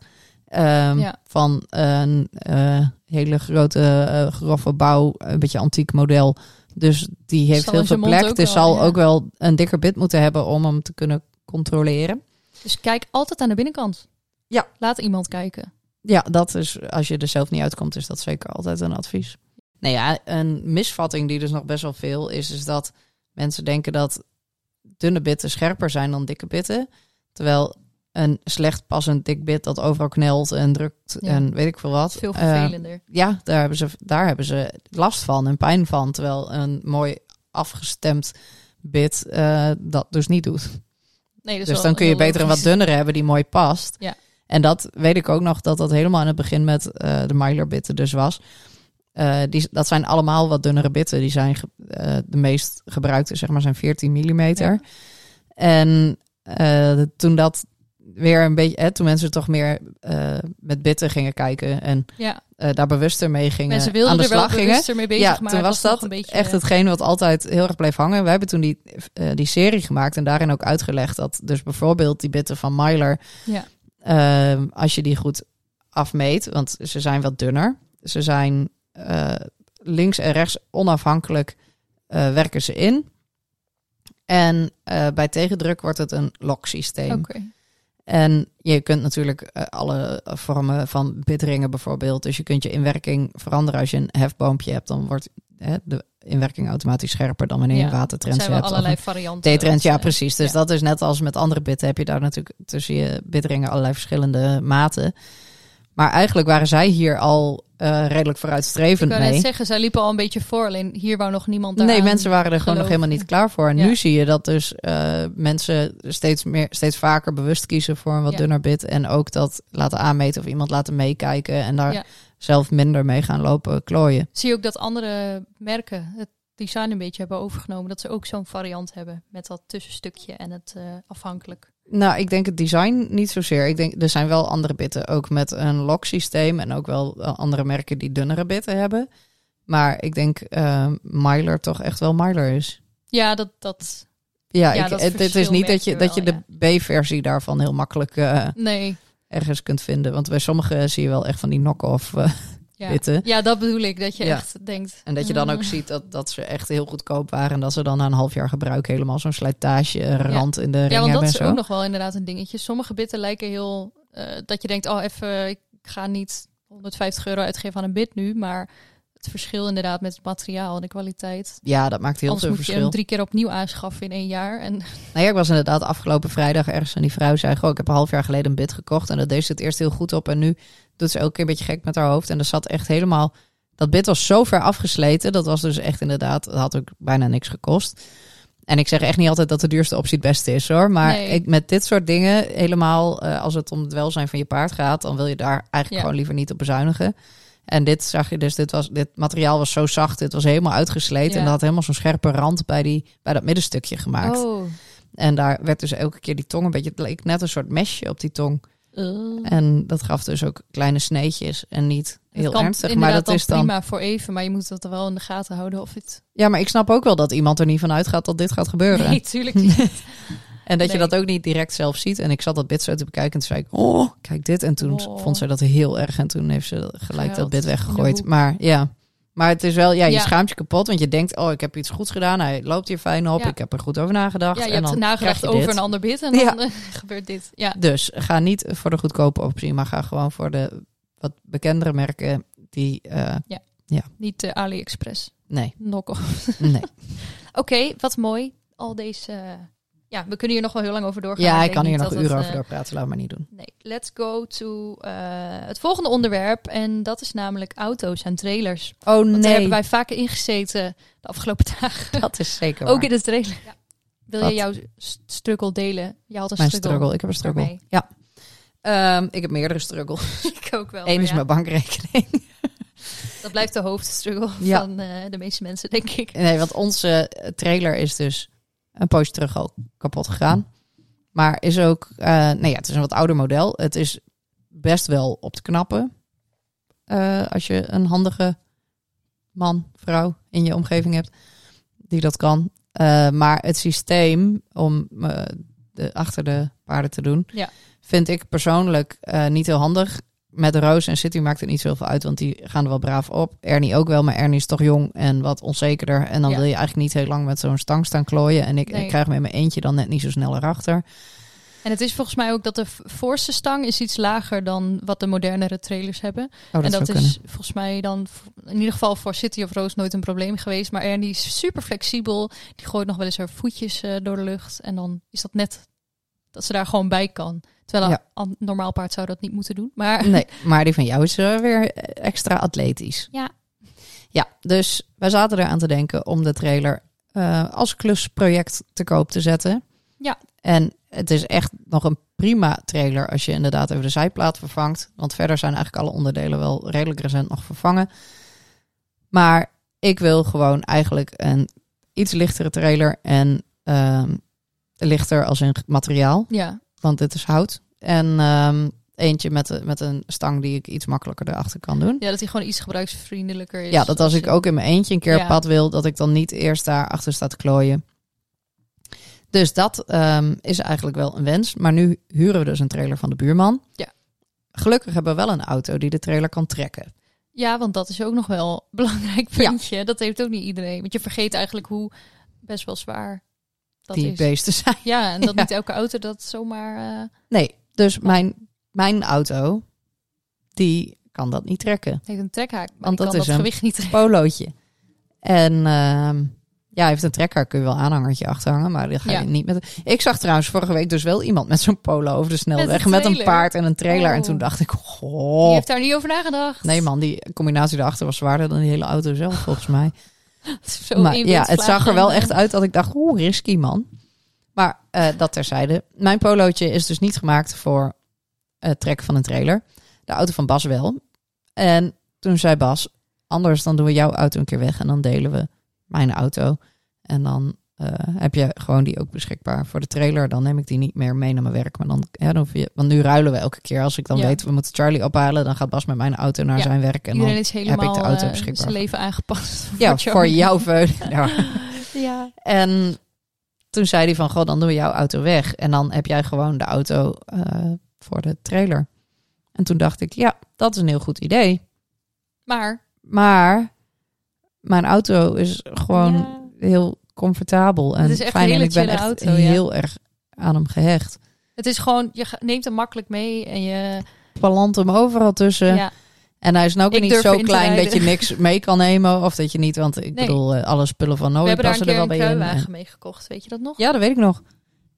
Speaker 1: ehm,
Speaker 2: Ja.
Speaker 1: Van een eh, hele grote, eh, grove bouw, een beetje antiek model. Dus die heeft
Speaker 2: Zal
Speaker 1: heel
Speaker 2: in
Speaker 1: veel
Speaker 2: zijn mond
Speaker 1: plek.
Speaker 2: ook
Speaker 1: Dus
Speaker 2: wel,
Speaker 1: zal
Speaker 2: ja.
Speaker 1: ook wel een dikker bit moeten hebben om hem te kunnen controleren.
Speaker 2: Dus kijk altijd aan de binnenkant.
Speaker 1: Ja.
Speaker 2: Laat iemand kijken.
Speaker 1: Ja, dat is, als je er zelf niet uitkomt, is dat zeker altijd een advies. Nou ja, een misvatting die dus nog best wel veel is, is dat mensen denken dat dunne bitten scherper zijn dan dikke bitten. Terwijl een slecht passend dik bit dat overal knelt en drukt
Speaker 2: Ja.
Speaker 1: en weet ik veel wat.
Speaker 2: Veel
Speaker 1: eh,
Speaker 2: vervelender.
Speaker 1: ja, daar hebben, ze, daar hebben ze last van en pijn van. Terwijl een mooi afgestemd bit eh, dat dus niet doet.
Speaker 2: nee, dat is
Speaker 1: Dus
Speaker 2: wel
Speaker 1: dan kun je
Speaker 2: heel
Speaker 1: beter een wat
Speaker 2: logisch.
Speaker 1: dunnere hebben die mooi past.
Speaker 2: Ja.
Speaker 1: En dat weet ik ook nog, dat dat helemaal aan het begin met eh, de Myler bitten dus was. Eh, die, dat zijn allemaal wat dunnere bitten. Die zijn ge- eh, de meest gebruikte, zeg maar, zijn 14 mm.
Speaker 2: Ja.
Speaker 1: En eh, toen dat weer een beetje, hè, toen mensen toch meer eh, met bitten gingen kijken en
Speaker 2: Ja,
Speaker 1: eh, daar bewuster mee gingen,
Speaker 2: mensen wilden
Speaker 1: aan de
Speaker 2: er wel
Speaker 1: slag gingen.
Speaker 2: bewuster mee bezig,
Speaker 1: ja,
Speaker 2: maar
Speaker 1: toen
Speaker 2: het
Speaker 1: was dat
Speaker 2: nog een beetje, eh,
Speaker 1: echt hetgeen wat altijd heel erg bleef hangen. We hebben toen die, eh, die serie gemaakt en daarin ook uitgelegd dat dus bijvoorbeeld die bitten van Myler,
Speaker 2: Ja.
Speaker 1: ehm, als je die goed afmeet, want ze zijn wat dunner, ze zijn eh, links en rechts onafhankelijk eh, werken ze in. En eh, bij tegendruk wordt het een loksysteem.
Speaker 2: Oké.
Speaker 1: En je kunt natuurlijk eh, alle vormen van bitteringen bijvoorbeeld. Dus je kunt je inwerking veranderen. Als je een hefboompje hebt, dan wordt hè, de inwerking automatisch scherper dan wanneer je
Speaker 2: Ja,
Speaker 1: een
Speaker 2: Er
Speaker 1: watertrends
Speaker 2: zijn wel
Speaker 1: hebt.
Speaker 2: allerlei
Speaker 1: of
Speaker 2: varianten.
Speaker 1: een T-trends, ja
Speaker 2: Dat, eh,
Speaker 1: precies. Dus
Speaker 2: ja.
Speaker 1: dat is net als met andere bitten heb je daar natuurlijk tussen je bitteringen allerlei verschillende maten. Maar eigenlijk waren zij hier al eh, redelijk
Speaker 2: Ik
Speaker 1: vooruitstrevend
Speaker 2: kan
Speaker 1: mee.
Speaker 2: net zeggen, zij liepen al een beetje voor. Alleen hier wou nog niemand
Speaker 1: Nee,
Speaker 2: daaraan.
Speaker 1: mensen waren er gewoon nog
Speaker 2: geloven.
Speaker 1: helemaal niet klaar voor. En
Speaker 2: Ja.
Speaker 1: nu zie je dat dus eh, mensen steeds, meer, steeds vaker bewust kiezen voor een wat
Speaker 2: Ja.
Speaker 1: dunner bit. En ook dat laten aanmeten of iemand laten meekijken. En daar
Speaker 2: Ja.
Speaker 1: zelf minder mee gaan lopen klooien.
Speaker 2: Zie je ook dat andere merken het design een beetje hebben overgenomen. Dat ze ook zo'n variant hebben. Met dat tussenstukje en het eh, afhankelijk.
Speaker 1: Nou, ik denk het design niet zozeer. Ik denk, er zijn wel andere bitten. Ook met een loksysteem. En ook wel eh, andere merken die dunnere bitten hebben. Maar ik denk eh Myler toch echt wel Myler is.
Speaker 2: Ja, dat, dat...
Speaker 1: Ja,
Speaker 2: Ja,
Speaker 1: ik-
Speaker 2: dat
Speaker 1: het, het is
Speaker 2: verschil
Speaker 1: niet dat
Speaker 2: merk
Speaker 1: je,
Speaker 2: je
Speaker 1: dat je
Speaker 2: wel,
Speaker 1: de B-versie daarvan heel makkelijk... eh,
Speaker 2: Nee.
Speaker 1: ergens kunt vinden. Want bij sommigen zie je wel echt van die knock-off eh,
Speaker 2: Ja.
Speaker 1: bitten.
Speaker 2: ja, dat bedoel ik. Dat je
Speaker 1: Ja.
Speaker 2: echt denkt...
Speaker 1: En dat je dan
Speaker 2: eh,
Speaker 1: ook ziet dat, dat ze echt heel goedkoop waren. En dat ze dan na een half jaar gebruik helemaal zo'n slijtage eh, rand in de ring
Speaker 2: Ja, want dat
Speaker 1: hebben
Speaker 2: is
Speaker 1: en zo.
Speaker 2: ook nog wel inderdaad een dingetje. Sommige bitten lijken heel... eh, dat je denkt, oh even, ik ga niet 150 euro uitgeven aan een bit nu. Maar het verschil inderdaad met het materiaal en de kwaliteit.
Speaker 1: Ja, dat maakt heel
Speaker 2: Anders
Speaker 1: veel
Speaker 2: moet je
Speaker 1: verschil.
Speaker 2: hem drie keer opnieuw aanschaffen in één jaar. En
Speaker 1: Nou ja, ik was inderdaad afgelopen vrijdag ergens en die vrouw zei... Goh, ik heb een half jaar geleden een bit gekocht. En dat deed ze het eerst heel goed op. En nu doet ze elke keer een beetje gek met haar hoofd. En dat zat echt helemaal... Dat bit was zo ver afgesleten. Dat was dus echt inderdaad... Dat had ook bijna niks gekost. En ik zeg echt niet altijd dat de duurste optie het beste is hoor. Maar
Speaker 2: Nee.
Speaker 1: ik, met dit soort dingen helemaal... eh, als het om het welzijn van je paard gaat... dan wil je daar eigenlijk
Speaker 2: Ja.
Speaker 1: gewoon liever niet op bezuinigen. En dit zag je dus, dit, was, dit materiaal was zo zacht. Dit was helemaal uitgesleten.
Speaker 2: Ja.
Speaker 1: En dat had helemaal zo'n scherpe rand bij, die, bij dat middenstukje gemaakt.
Speaker 2: Oh,
Speaker 1: En daar werd dus elke keer die tong een beetje... Het leek net een soort mesje op die tong.
Speaker 2: Mm. Eh,
Speaker 1: En dat gaf dus ook kleine sneetjes en niet heel
Speaker 2: kan
Speaker 1: ernstig. Maar
Speaker 2: inderdaad
Speaker 1: dat is dan...
Speaker 2: prima voor even, maar je moet dat er wel in de gaten houden of het...
Speaker 1: Ja, maar ik snap ook wel dat iemand er niet van uitgaat dat dit gaat gebeuren.
Speaker 2: Nee, tuurlijk niet.
Speaker 1: En dat
Speaker 2: Nee.
Speaker 1: je dat ook niet direct zelf ziet. En ik zat dat bit zo te bekijken en toen zei ik, oh, kijk dit. En toen
Speaker 2: Oh.
Speaker 1: vond ze dat heel erg en toen heeft ze gelijk
Speaker 2: Gehuild
Speaker 1: dat bit
Speaker 2: in de
Speaker 1: weggegooid.
Speaker 2: hoek.
Speaker 1: Maar ja, maar het is wel, ja, je
Speaker 2: Ja.
Speaker 1: schaamt je kapot. Want je denkt, oh, ik heb iets goeds gedaan. Hij loopt hier fijn op.
Speaker 2: Ja.
Speaker 1: Ik heb er goed over nagedacht.
Speaker 2: Ja, je
Speaker 1: en
Speaker 2: hebt
Speaker 1: dan krijg
Speaker 2: nagedacht
Speaker 1: je
Speaker 2: over
Speaker 1: dit.
Speaker 2: een ander bit en dan
Speaker 1: Ja.
Speaker 2: eh, gebeurt dit. Ja,
Speaker 1: Dus ga niet voor de goedkope optie, maar ga gewoon voor de wat bekendere merken die, eh,
Speaker 2: niet eh, AliExpress.
Speaker 1: nee,
Speaker 2: Knock off.
Speaker 1: nee.
Speaker 2: Oké, wat mooi. Al deze... eh, Ja, we kunnen hier nog wel heel lang over doorgaan.
Speaker 1: ja,
Speaker 2: maar
Speaker 1: ik kan
Speaker 2: denk
Speaker 1: hier
Speaker 2: niet
Speaker 1: nog
Speaker 2: dat
Speaker 1: uren
Speaker 2: het,
Speaker 1: over
Speaker 2: eh,
Speaker 1: doorpraten. Laat maar niet doen.
Speaker 2: Nee, let's go to eh, het volgende onderwerp. En dat is namelijk auto's en trailers.
Speaker 1: Oh
Speaker 2: Want daar hebben
Speaker 1: nee,
Speaker 2: wij vaker ingezeten de afgelopen dagen.
Speaker 1: dat is zeker waar.
Speaker 2: Ook in de trailer. Wil je
Speaker 1: Wat?
Speaker 2: jouw s- struggle delen? Je had een
Speaker 1: Mijn
Speaker 2: struggle.
Speaker 1: struggle, ik heb een struggle.
Speaker 2: Daarmee.
Speaker 1: Ja. Ehm, ik heb meerdere struggles.
Speaker 2: Ik ook wel.
Speaker 1: Eén
Speaker 2: maar
Speaker 1: is
Speaker 2: ja,
Speaker 1: mijn bankrekening.
Speaker 2: Dat blijft de hoofdstruggle
Speaker 1: Ja.
Speaker 2: van eh, de meeste mensen, denk ik.
Speaker 1: Nee, want onze eh, trailer is dus een poosje terug al kapot gegaan. Maar is ook, eh nee ja, het is een wat ouder model. Het is best wel op te knappen. eh, als je een handige man, vrouw in je omgeving hebt die dat kan. Eh, maar het systeem om eh, de, achter de paarden te doen,
Speaker 2: Ja.
Speaker 1: vind ik persoonlijk eh, niet heel handig. Met Roos en City maakt het niet zoveel uit, want die gaan er wel braaf op. Ernie ook wel, maar Ernie is toch jong en wat onzekerder. En dan
Speaker 2: Ja.
Speaker 1: wil je eigenlijk niet heel lang met zo'n stang staan klooien. En ik,
Speaker 2: Nee.
Speaker 1: ik krijg me in mijn eentje dan net niet zo snel erachter. Oh,
Speaker 2: En het is volgens mij ook dat de v- voorste stang is iets lager dan wat de modernere trailers hebben.
Speaker 1: Oh, dat,
Speaker 2: en dat
Speaker 1: zou kunnen.
Speaker 2: is volgens mij dan v- in ieder geval voor City of Roos nooit een probleem geweest. Maar Ernie is super flexibel. Die gooit nog wel eens haar voetjes eh, door de lucht. En dan is dat net dat ze daar gewoon bij kan. Terwijl een
Speaker 1: Ja.
Speaker 2: an- normaal paard zou dat niet moeten doen. Maar
Speaker 1: Nee, maar die van jou is eh, weer extra atletisch.
Speaker 2: Ja.
Speaker 1: Ja, dus wij zaten eraan te denken om de trailer eh, als klusproject te koop te zetten.
Speaker 2: Ja.
Speaker 1: En het is echt nog een prima trailer als je inderdaad even de zijplaat vervangt. Want verder zijn eigenlijk alle onderdelen wel redelijk recent nog vervangen. Maar ik wil gewoon eigenlijk een iets lichtere trailer en ehm, lichter als in materiaal
Speaker 2: ja,
Speaker 1: want dit is hout. En ehm, eentje met, met een stang die ik iets makkelijker erachter kan doen.
Speaker 2: ja, dat hij gewoon iets gebruiksvriendelijker is.
Speaker 1: Ja, dat als
Speaker 2: Als
Speaker 1: ik
Speaker 2: je-
Speaker 1: ook in mijn eentje een keer
Speaker 2: Ja.
Speaker 1: op pad wil, dat ik dan niet eerst daarachter sta te klooien. Dus dat ehm, is eigenlijk wel een wens. Maar nu huren we dus een trailer van de buurman.
Speaker 2: Ja.
Speaker 1: Gelukkig hebben we wel een auto die de trailer kan trekken.
Speaker 2: Ja, want dat is ook nog wel een belangrijk puntje. Dat heeft ook niet iedereen. Want je vergeet eigenlijk hoe best wel zwaar dat
Speaker 1: die
Speaker 2: is.
Speaker 1: beesten zijn.
Speaker 2: Ja, en dat
Speaker 1: Ja.
Speaker 2: niet elke auto dat zomaar... eh,
Speaker 1: Nee, dus mijn, mijn auto, die kan dat niet trekken.
Speaker 2: heeft een trekhaak, maar
Speaker 1: Want
Speaker 2: die
Speaker 1: dat
Speaker 2: kan
Speaker 1: is
Speaker 2: dat
Speaker 1: hem.
Speaker 2: gewicht niet trekken.
Speaker 1: polootje. En ehm, ja, hij heeft een trekker, kun je wel een aanhangertje achterhangen, maar die ga je
Speaker 2: Ja.
Speaker 1: niet met. Ik zag trouwens vorige week dus wel iemand met zo'n polo over de
Speaker 2: Met
Speaker 1: snelweg
Speaker 2: een
Speaker 1: met een
Speaker 2: trailer.
Speaker 1: paard en een trailer. En
Speaker 2: Oh.
Speaker 1: toen dacht ik,
Speaker 2: Je
Speaker 1: goh.
Speaker 2: hebt daar niet over nagedacht.
Speaker 1: Oh. Nee man, die combinatie daarachter was zwaarder dan die hele auto zelf volgens mij.
Speaker 2: Zo
Speaker 1: maar
Speaker 2: één
Speaker 1: ja, het
Speaker 2: windvlaag
Speaker 1: zag er
Speaker 2: en,
Speaker 1: wel
Speaker 2: eh,
Speaker 1: echt uit dat ik dacht, oeh, risky man. Maar eh, dat terzijde. Mijn polootje is dus niet gemaakt voor het trekken van een trailer. De auto van Bas wel. En toen zei Bas, anders dan doen we jouw auto een keer weg en dan delen we mijn auto. En dan eh, heb je gewoon die ook beschikbaar voor de trailer. Dan neem ik die niet meer mee naar mijn werk. Maar dan, ja, dan hoef je, want nu ruilen we elke keer. Als ik dan
Speaker 2: Ja.
Speaker 1: weet, we moeten Charlie ophalen, dan gaat Bas met mijn auto naar
Speaker 2: Ja,
Speaker 1: zijn werk. En dan,
Speaker 2: Iedereen is helemaal
Speaker 1: ik de auto
Speaker 2: eh,
Speaker 1: beschikbaar.
Speaker 2: zijn leven aangepast.
Speaker 1: ja, voor
Speaker 2: jou.
Speaker 1: jouw veulen. Ja.
Speaker 2: Ja.
Speaker 1: En toen zei hij van, goh, dan doen we jouw auto weg. En dan heb jij gewoon de auto eh, voor de trailer. En toen dacht ik, ja, dat is een heel goed idee.
Speaker 2: Maar,
Speaker 1: Maar mijn auto is gewoon
Speaker 2: Ja.
Speaker 1: heel comfortabel en
Speaker 2: Het is echt
Speaker 1: fijn.
Speaker 2: een
Speaker 1: En
Speaker 2: hele
Speaker 1: ik ben
Speaker 2: chille
Speaker 1: echt
Speaker 2: auto, ja.
Speaker 1: heel erg aan hem gehecht.
Speaker 2: het is gewoon, je ga- neemt hem makkelijk mee en je...
Speaker 1: Palant hem overal tussen.
Speaker 2: ja.
Speaker 1: En hij is ook
Speaker 2: Ik
Speaker 1: niet
Speaker 2: durf
Speaker 1: zo
Speaker 2: in te
Speaker 1: klein dat je
Speaker 2: rijden.
Speaker 1: niks mee kan nemen. Of dat je niet, want ik
Speaker 2: Nee.
Speaker 1: bedoel, eh, alle spullen van
Speaker 2: We
Speaker 1: Noe
Speaker 2: hebben daar een
Speaker 1: passen er
Speaker 2: keer
Speaker 1: wel bij
Speaker 2: een
Speaker 1: in. eh. En-
Speaker 2: kruiwagen mee gekocht, weet je dat nog?
Speaker 1: Ja, dat weet ik nog.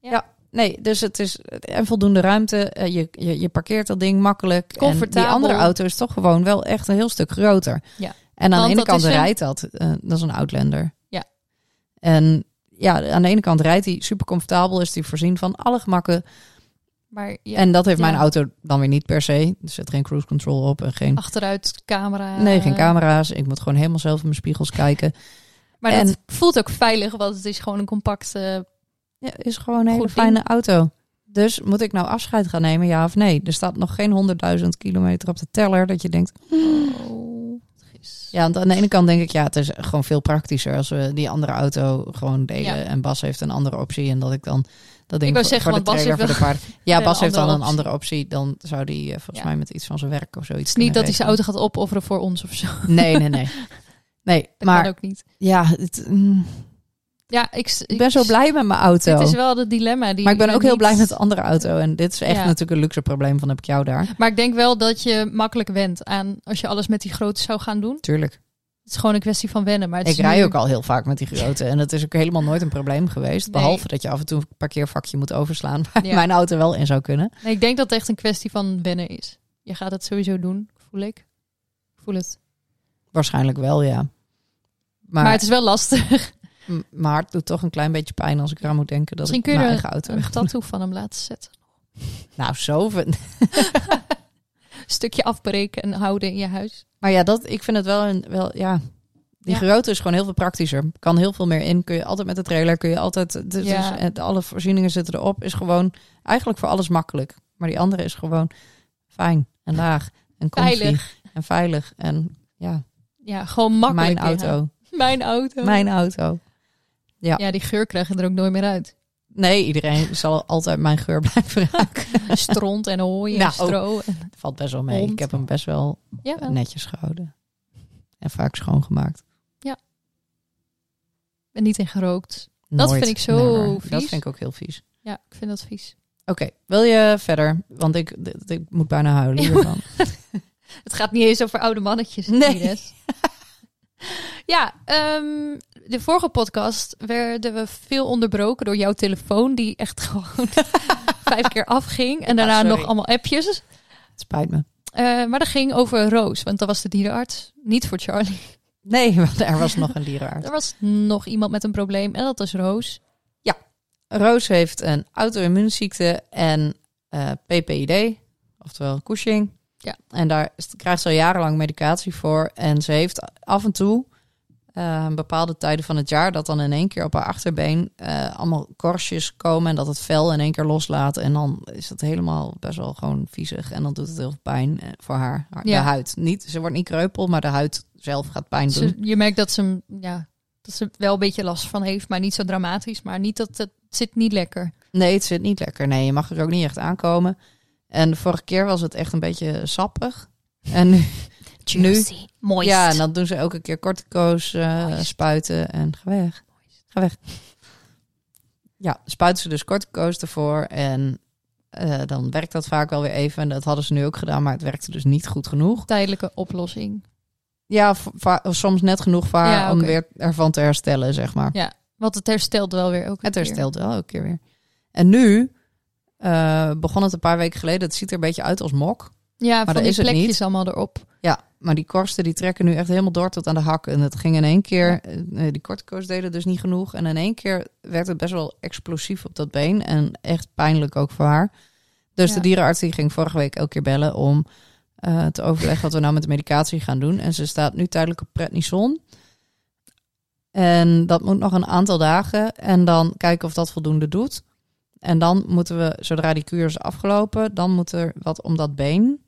Speaker 2: Ja.
Speaker 1: Ja. Nee, dus het is en voldoende ruimte. eh, Je, je, je parkeert dat ding makkelijk. En
Speaker 2: Comfortabel.
Speaker 1: die andere auto is toch gewoon wel echt een heel stuk groter.
Speaker 2: Ja.
Speaker 1: En aan
Speaker 2: Want
Speaker 1: de ene
Speaker 2: dat
Speaker 1: kant
Speaker 2: is een-
Speaker 1: rijdt dat. eh, dat is een Outlander.
Speaker 2: Ja.
Speaker 1: En ja, aan de ene kant rijdt hij super comfortabel. Is hij voorzien van alle gemakken.
Speaker 2: Maar ja,
Speaker 1: En dat heeft
Speaker 2: Ja.
Speaker 1: mijn auto dan weer niet per se. Er zit geen cruise control op en geen...
Speaker 2: achteruit, camera...
Speaker 1: Nee, geen
Speaker 2: eh,
Speaker 1: camera's. Ik moet gewoon helemaal zelf in mijn spiegels kijken.
Speaker 2: Maar
Speaker 1: En-
Speaker 2: dat voelt ook veilig, want het is gewoon een compact eh,
Speaker 1: Ja, is gewoon een hele
Speaker 2: Goed
Speaker 1: fijne auto. Dus moet ik nou afscheid gaan nemen, ja of nee? Er staat nog geen 100.000 kilometer op de teller dat je denkt...
Speaker 2: Oh.
Speaker 1: Ja, want aan de ene kant denk ik, ja, het is gewoon veel praktischer als we die andere auto gewoon delen.
Speaker 2: Ja.
Speaker 1: En Bas heeft een andere optie en dat ik dan... Dat
Speaker 2: wou
Speaker 1: ding voor-
Speaker 2: zeggen,
Speaker 1: voor de
Speaker 2: want Bas
Speaker 1: trailer,
Speaker 2: heeft
Speaker 1: voor de paard. Ja,
Speaker 2: wel
Speaker 1: Bas
Speaker 2: een
Speaker 1: heeft dan
Speaker 2: andere
Speaker 1: een andere optie. Dan zou die eh, volgens
Speaker 2: Ja.
Speaker 1: mij met iets van zijn werk of zoiets
Speaker 2: Het is niet dat hij zijn
Speaker 1: kunnen
Speaker 2: auto gaat opofferen voor ons of zo. Dat
Speaker 1: regelen. Nee, nee, nee. Nee, maar
Speaker 2: kan ook niet.
Speaker 1: ja, het, mm,
Speaker 2: Ja, ik, s-
Speaker 1: ik ben zo blij met mijn auto.
Speaker 2: Dit is wel het dilemma. Die
Speaker 1: maar ik ben
Speaker 2: je
Speaker 1: ook heel
Speaker 2: niet-
Speaker 1: blij met de andere auto. En dit is echt
Speaker 2: Ja.
Speaker 1: natuurlijk een luxe probleem van heb ik jou daar.
Speaker 2: Maar ik denk wel dat je makkelijk went aan als je alles met die grote zou gaan doen.
Speaker 1: Tuurlijk.
Speaker 2: Het is gewoon een kwestie van wennen. Maar het
Speaker 1: Ik
Speaker 2: is
Speaker 1: rij
Speaker 2: nu-
Speaker 1: ook al heel vaak met die grote. En dat is ook helemaal nooit een probleem geweest.
Speaker 2: Nee.
Speaker 1: Behalve dat je af en toe een parkeervakje moet overslaan. Waar
Speaker 2: Ja.
Speaker 1: mijn auto wel in zou kunnen.
Speaker 2: Nee, ik denk dat het echt een kwestie van wennen is. Je gaat het sowieso doen, voel ik. Ik voel het.
Speaker 1: Waarschijnlijk wel, ja. Maar,
Speaker 2: Maar, het is wel lastig.
Speaker 1: m- mijn hart doet toch een klein beetje pijn als ik eraan moet denken dat
Speaker 2: Misschien
Speaker 1: ik mijn
Speaker 2: kun je
Speaker 1: eigen auto...
Speaker 2: Een tattoo van hem laten zetten.
Speaker 1: Nou, zoveel.
Speaker 2: Stukje afbreken en houden in je huis.
Speaker 1: Maar ja, dat, ik vind het wel een... Wel, ja. Die
Speaker 2: Ja.
Speaker 1: grote is gewoon heel veel praktischer. Kan heel veel meer in. Kun je altijd met de trailer, kun je altijd... Het is-
Speaker 2: Ja.
Speaker 1: het- alle voorzieningen zitten erop. Is gewoon eigenlijk voor alles makkelijk. Maar die andere is gewoon fijn en laag en comfy
Speaker 2: Veilig.
Speaker 1: en veilig. En ja,
Speaker 2: Ja, gewoon makkelijk.
Speaker 1: mijn
Speaker 2: ja.
Speaker 1: auto.
Speaker 2: Mijn auto.
Speaker 1: Mijn auto.
Speaker 2: ja. die geur krijg je er ook nooit meer uit.
Speaker 1: Nee, iedereen zal altijd mijn geur blijven raken.
Speaker 2: Stront en hooi en
Speaker 1: Nou.
Speaker 2: stro.
Speaker 1: Valt best wel mee.
Speaker 2: Hond.
Speaker 1: Ik heb hem best wel
Speaker 2: Ja,
Speaker 1: eh, netjes gehouden. En vaak schoongemaakt.
Speaker 2: en niet in gerookt.
Speaker 1: Nooit,
Speaker 2: vind ik zo
Speaker 1: never.
Speaker 2: vies.
Speaker 1: Dat vind ik ook heel vies.
Speaker 2: Ja, ik vind dat vies.
Speaker 1: Oké, wil je verder? Want ik, d- d- ik moet bijna huilen hiervan.
Speaker 2: Het gaat niet eens over oude mannetjes.
Speaker 1: Nee.
Speaker 2: Ines. ja, ehm, de vorige podcast werden we veel onderbroken door jouw telefoon, die echt gewoon vijf keer afging. En daarna
Speaker 1: Ah, sorry.
Speaker 2: nog allemaal appjes.
Speaker 1: Het spijt me.
Speaker 2: Eh, maar dat ging over Roos, want dat was de dierenarts. Niet voor Charlie.
Speaker 1: Nee, want er was nog een dierenarts.
Speaker 2: Er was nog iemand met een probleem en dat is Roos.
Speaker 1: Roos heeft een auto-immuunziekte en eh, PPID, oftewel Cushing.
Speaker 2: Ja.
Speaker 1: En daar is- krijgt ze al jarenlang medicatie voor. En ze heeft af en toe eh, bepaalde tijden van het jaar dat dan in één keer op haar achterbeen eh, allemaal korstjes komen en dat het vel in één keer loslaat. En dan is dat helemaal best wel gewoon viezig. En dan doet het heel veel pijn eh, voor haar, haar-
Speaker 2: Ja.
Speaker 1: de huid. Niet, ze wordt niet kreupel, maar de huid zelf gaat pijn doen.
Speaker 2: Ze- je merkt dat ze, hem, ja, dat ze wel een beetje last van heeft, maar niet zo dramatisch. Maar niet dat het het zit niet lekker.
Speaker 1: Nee, het zit niet lekker. Nee, je mag er ook niet echt aankomen. En de vorige keer was het echt een beetje sappig. En nu,
Speaker 2: Juicy. Moist.
Speaker 1: ja, nou- en dan doen ze elke keer kortico's eh,
Speaker 2: Moist.
Speaker 1: spuiten en ga weg. Ga weg. Ja, spuiten ze dus kortico's ervoor en eh, dan werkt dat vaak wel weer even. En dat hadden ze nu ook gedaan, maar het werkte dus niet goed genoeg.
Speaker 2: Tijdelijke oplossing.
Speaker 1: Ja, v- va- soms net genoeg vaar
Speaker 2: Ja,
Speaker 1: om
Speaker 2: oké.
Speaker 1: weer ervan te herstellen, zeg maar.
Speaker 2: Want het herstelt wel weer ook.
Speaker 1: Het
Speaker 2: weer.
Speaker 1: herstelt wel elke keer weer. En nu eh, begon het een paar weken geleden. Het ziet er een beetje uit als mok.
Speaker 2: Ja,
Speaker 1: dat
Speaker 2: van die
Speaker 1: is het
Speaker 2: plekjes
Speaker 1: niet.
Speaker 2: allemaal erop.
Speaker 1: Ja, maar die korsten die trekken nu echt helemaal door tot aan de hak. En het ging in één keer, eh, die kortkoos deden dus niet genoeg. En in één keer werd het best wel explosief op dat been. En echt pijnlijk ook voor haar. Dus
Speaker 2: Ja.
Speaker 1: de dierenarts die ging vorige week elke keer bellen om eh, te overleggen wat we nou met de medicatie gaan doen. En ze staat nu tijdelijk op prednison. En dat moet nog een aantal dagen. En dan kijken of dat voldoende doet. En dan moeten we, zodra die kuur is afgelopen, dan moet er wat om dat been.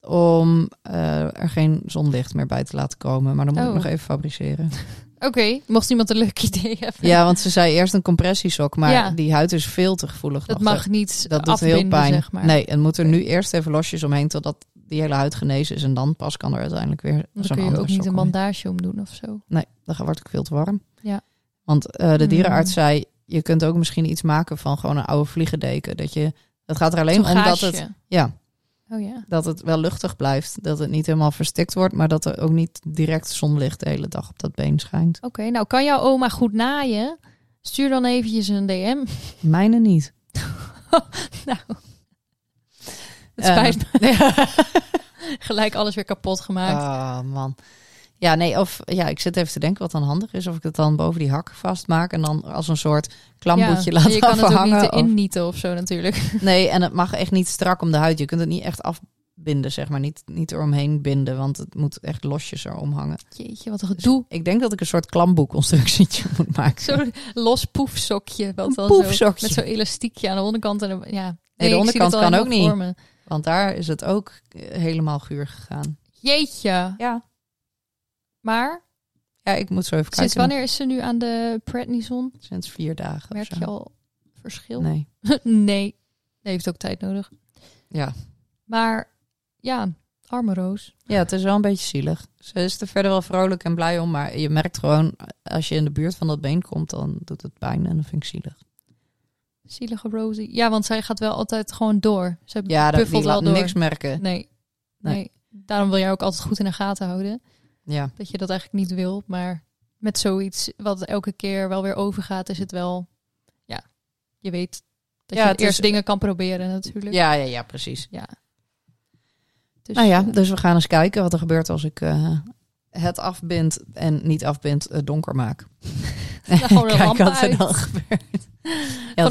Speaker 1: Om eh, er geen zonlicht meer bij te laten komen. Maar dan moet
Speaker 2: Oh.
Speaker 1: ik nog even fabriceren.
Speaker 2: Oké, mocht iemand een leuk idee hebben.
Speaker 1: Ja, want ze zei eerst een compressiesok. Maar
Speaker 2: Ja.
Speaker 1: die huid is veel te gevoelig.
Speaker 2: dat
Speaker 1: nog.
Speaker 2: mag niet
Speaker 1: Dat doet
Speaker 2: afbinden,
Speaker 1: heel pijn.
Speaker 2: zeg maar.
Speaker 1: Nee, en moet er nu eerst even losjes omheen totdat die hele huid genezen is. En dan pas kan er uiteindelijk weer
Speaker 2: Want
Speaker 1: zo'n
Speaker 2: dan kun je
Speaker 1: andere
Speaker 2: ook niet
Speaker 1: sok
Speaker 2: een
Speaker 1: omheen.
Speaker 2: bandage om doen of zo.
Speaker 1: Nee, dan wordt ik veel te warm.
Speaker 2: Ja.
Speaker 1: Want eh, de
Speaker 2: Hmm.
Speaker 1: dierenarts zei, je kunt ook misschien iets maken van gewoon een oude vliegendeken. Dat je, het gaat er alleen
Speaker 2: Zo'n
Speaker 1: om dat
Speaker 2: gaasje.
Speaker 1: het, ja,
Speaker 2: Oh ja.
Speaker 1: dat het wel luchtig blijft. Dat het niet helemaal verstikt wordt, maar dat er ook niet direct zonlicht de hele dag op dat been schijnt.
Speaker 2: Oké, nou kan jouw oma goed naaien? Stuur dan eventjes een DM.
Speaker 1: Mijne niet.
Speaker 2: nou,
Speaker 1: Eh,
Speaker 2: het spijt me. Gelijk alles weer kapot gemaakt.
Speaker 1: Ah, man. Ja, nee, of ja, ik zit even te denken wat dan handig is. Of ik het dan boven die hak vastmaak en dan als een soort klamboetje
Speaker 2: Ja,
Speaker 1: laat
Speaker 2: je kan het ook
Speaker 1: afhangen.
Speaker 2: niet
Speaker 1: of-
Speaker 2: innieten of zo natuurlijk.
Speaker 1: Nee, en het mag echt niet strak om de huid. Je kunt het niet echt afbinden binden, zeg maar. Niet, niet eromheen binden, want het moet echt losjes erom hangen.
Speaker 2: Jeetje, wat een gedoe.
Speaker 1: Ik denk dat ik een soort klamboeconstructietje moet maken.
Speaker 2: Zo'n los poefsokje. Wat dan
Speaker 1: poefsokje.
Speaker 2: Zo, met zo'n elastiekje aan de onderkant. En de, ja. Nee,
Speaker 1: de
Speaker 2: ik zie
Speaker 1: onderkant
Speaker 2: het al
Speaker 1: kan ook
Speaker 2: helemaal voor me.
Speaker 1: Want daar is het ook eh, helemaal guur gegaan.
Speaker 2: Jeetje.
Speaker 1: Ja.
Speaker 2: Maar
Speaker 1: Ja, ik moet zo even kijken.
Speaker 2: sinds wanneer is ze nu aan de prednison?
Speaker 1: Sinds vier dagen. of
Speaker 2: Merk
Speaker 1: zo.
Speaker 2: je al verschil?
Speaker 1: Nee.
Speaker 2: nee. Nee, heeft ook tijd nodig.
Speaker 1: Ja.
Speaker 2: Maar ja, arme Roos.
Speaker 1: Ja, het is wel een beetje zielig. Ze is er verder wel vrolijk en blij om, maar je merkt gewoon, als je in de buurt van dat been komt, dan doet het pijn en dan vind ik zielig.
Speaker 2: Zielige Rosie. Ja, want zij gaat wel altijd gewoon door. Ze
Speaker 1: Ja, dat die
Speaker 2: buffelt wel
Speaker 1: laat
Speaker 2: door.
Speaker 1: niks merken.
Speaker 2: Nee.
Speaker 1: Nee.
Speaker 2: nee. Daarom wil jij ook altijd goed in de gaten houden.
Speaker 1: Ja,
Speaker 2: Dat je dat eigenlijk niet wil. Maar met zoiets wat elke keer wel weer overgaat, is het wel... Ja, je weet dat
Speaker 1: Ja, het
Speaker 2: je het eerst
Speaker 1: is-
Speaker 2: dingen kan proberen natuurlijk.
Speaker 1: ja, ja, ja precies.
Speaker 2: ja. Dus,
Speaker 1: nou ja,
Speaker 2: eh,
Speaker 1: dus we gaan eens kijken wat er gebeurt als ik eh, het afbind en niet afbind eh, donker maak.
Speaker 2: gewoon een
Speaker 1: Kijk
Speaker 2: lamp
Speaker 1: wat er
Speaker 2: uit.
Speaker 1: dan gebeurt. Ja,
Speaker 2: een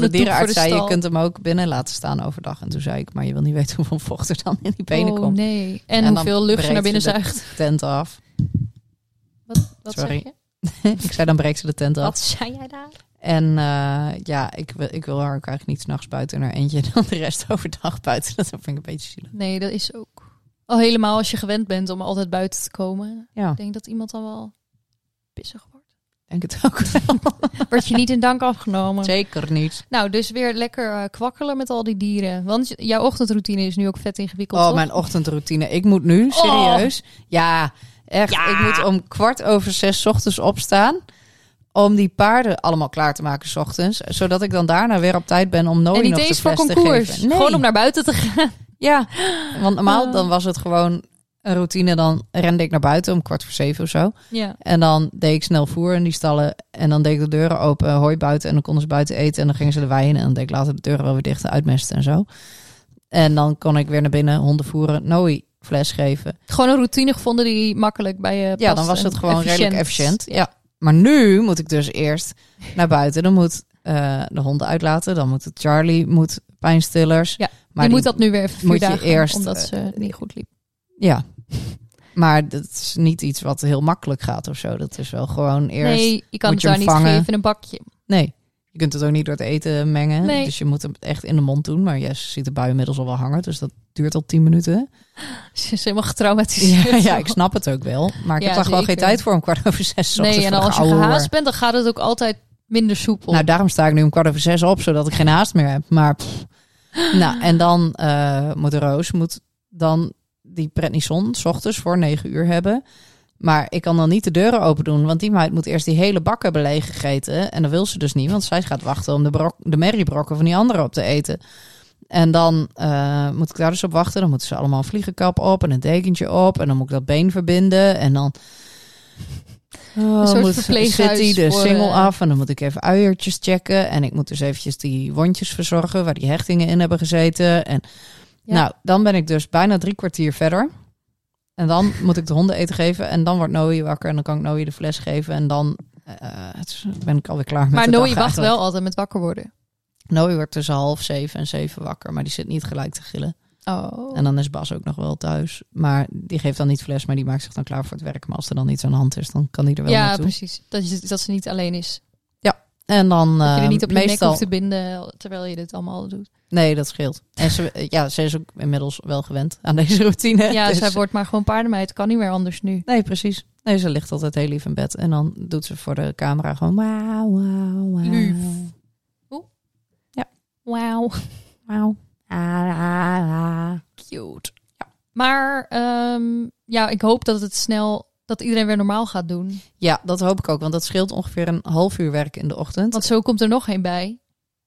Speaker 1: want de
Speaker 2: doek voor
Speaker 1: dierenarts
Speaker 2: de
Speaker 1: zei, je
Speaker 2: stal.
Speaker 1: kunt hem ook binnen laten staan overdag. En toen zei ik, maar je wil niet weten hoeveel vocht er dan in die benen
Speaker 2: oh,
Speaker 1: komt.
Speaker 2: nee. En,
Speaker 1: dan
Speaker 2: hoeveel lucht je naar binnen
Speaker 1: breekt ze
Speaker 2: zuigt.
Speaker 1: Tent af.
Speaker 2: Wat, wat
Speaker 1: Sorry.
Speaker 2: zeg je?
Speaker 1: ik zei, dan breekt ze de tent af.
Speaker 2: Wat zei jij daar?
Speaker 1: En eh, ja, ik wil, ik wil haar ook eigenlijk niet s'nachts buiten naar eentje en dan de rest overdag buiten. Dat vind ik een beetje zielig.
Speaker 2: Nee, dat is ook... Al helemaal als je gewend bent om altijd buiten te komen.
Speaker 1: Ja,
Speaker 2: Ik denk dat iemand dan wel pissig wordt.
Speaker 1: denk het ook wel.
Speaker 2: Word je niet in dank afgenomen.
Speaker 1: Zeker niet.
Speaker 2: Nou, dus weer lekker eh, kwakkelen met al die dieren. Want j- jouw ochtendroutine is nu ook vet ingewikkeld.
Speaker 1: Oh,
Speaker 2: toch?
Speaker 1: mijn ochtendroutine. Ik moet
Speaker 2: Oh.
Speaker 1: nu, serieus. Ja, echt. Ik moet om kwart over zes 's ochtends opstaan. Om die paarden allemaal klaar te maken 's ochtends. Zodat ik dan daarna weer op tijd ben om
Speaker 2: en
Speaker 1: Noe
Speaker 2: niet
Speaker 1: nog de
Speaker 2: eens voor
Speaker 1: fles te
Speaker 2: concours.
Speaker 1: geven. Nee.
Speaker 2: Gewoon om naar buiten te gaan.
Speaker 1: Ja, want normaal
Speaker 2: Eh.
Speaker 1: dan was het gewoon een routine. Dan rende ik naar buiten om kwart voor zeven of zo.
Speaker 2: Ja.
Speaker 1: En dan deed ik snel voer in die stallen. En dan deed ik de deuren open, hooi buiten. En dan konden ze buiten eten. En dan gingen ze de wei in. En dan deed ik later de deuren wel weer dicht uitmesten en zo. En dan kon ik weer naar binnen honden voeren. Nooi fles geven.
Speaker 2: Gewoon een routine gevonden die makkelijk bij je past.
Speaker 1: Ja, dan was
Speaker 2: en
Speaker 1: het gewoon redelijk efficiënt. Ja. Maar nu moet ik dus eerst naar buiten. Dan moet eh, de honden uitlaten. Dan moet het Charlie, moet pijnstillers.
Speaker 2: Ja,
Speaker 1: maar die-
Speaker 2: je moet dat nu weer even vier
Speaker 1: moet je
Speaker 2: dagen,
Speaker 1: eerst,
Speaker 2: omdat
Speaker 1: eh,
Speaker 2: ze niet goed liep.
Speaker 1: Ja. Maar dat is niet iets wat heel makkelijk gaat of zo. Dat is wel gewoon eerst...
Speaker 2: nee, je kan
Speaker 1: moet
Speaker 2: het
Speaker 1: je hem
Speaker 2: daar niet
Speaker 1: vangen.
Speaker 2: geven in een bakje.
Speaker 1: Nee. Je kunt het ook niet door het eten mengen.
Speaker 2: Nee.
Speaker 1: Dus je moet hem echt in de mond doen. Maar Jess ziet de bui inmiddels al wel hangen. Dus dat duurt al tien minuten.
Speaker 2: Ze is helemaal getraumatiseerd.
Speaker 1: Ja, ja ik snap het ook wel. Maar ik
Speaker 2: Ja,
Speaker 1: heb daar gewoon geen
Speaker 2: zeker.
Speaker 1: tijd voor om kwart over zes. 's ochtends
Speaker 2: Nee, en
Speaker 1: voor de
Speaker 2: als je
Speaker 1: geouwe hoer.
Speaker 2: gehaast bent, dan gaat het ook altijd minder soepel.
Speaker 1: Nou, daarom sta ik nu om kwart over zes op. Zodat ik geen haast meer heb. Maar pff. Nou, en dan eh, moet Roos moet dan die prednison s ochtends voor negen uur hebben. Maar ik kan dan niet de deuren open doen, want die meid moet eerst die hele bak hebben leeggegeten. En dat wil ze dus niet, want zij gaat wachten om de, brok, de merriebrokken van die anderen op te eten. En dan eh, moet ik daar dus op wachten. Dan moeten ze allemaal een vliegenkap op en een dekentje op. En dan moet ik dat been verbinden. En dan oh,
Speaker 2: soort
Speaker 1: moet, zit
Speaker 2: verpleeghuis
Speaker 1: die de
Speaker 2: voor,
Speaker 1: single
Speaker 2: eh,
Speaker 1: af. En dan moet ik even uiertjes checken. En ik moet dus eventjes die wondjes verzorgen waar die hechtingen in hebben gezeten. En
Speaker 2: Ja.
Speaker 1: nou, dan ben ik dus bijna drie kwartier verder. En dan moet ik de honden eten geven. En dan wordt Noe wakker. En dan kan ik Noe de fles geven. En dan eh, het is- ben ik alweer klaar met
Speaker 2: maar
Speaker 1: de dag
Speaker 2: Noe wacht
Speaker 1: eigenlijk.
Speaker 2: wel altijd met wakker worden.
Speaker 1: Noe wordt tussen half zeven en zeven wakker. Maar die zit niet gelijk te gillen.
Speaker 2: Oh.
Speaker 1: En dan is Bas ook nog wel thuis. Maar die geeft dan niet fles. Maar die maakt zich dan klaar voor het werk. Maar als er dan iets aan de hand is, dan kan die er wel
Speaker 2: ja,
Speaker 1: naartoe.
Speaker 2: precies. Dat, je, dat ze niet alleen is.
Speaker 1: En dan
Speaker 2: Dat je er
Speaker 1: eh,
Speaker 2: niet op je nek
Speaker 1: meestal...
Speaker 2: hoeft te binden eh, terwijl je dit allemaal doet.
Speaker 1: Nee, dat scheelt. En ze, ja, ze is ook inmiddels wel gewend aan deze routine.
Speaker 2: Ja,
Speaker 1: Dus-
Speaker 2: zij wordt maar gewoon paardenmeid. Kan niet meer anders nu.
Speaker 1: Nee, precies. Nee, ze ligt altijd heel lief in bed. En dan doet ze voor de camera gewoon wauw, wauw, wauw.
Speaker 2: Lief.
Speaker 1: Wauw. Wauw. Ah, ah, ah.
Speaker 2: Cute. Maar ehm, ja, ik hoop dat het snel, dat iedereen weer normaal gaat doen.
Speaker 1: Ja, dat hoop ik ook. Want dat scheelt ongeveer een half uur werk in de ochtend.
Speaker 2: Want zo komt er nog een bij.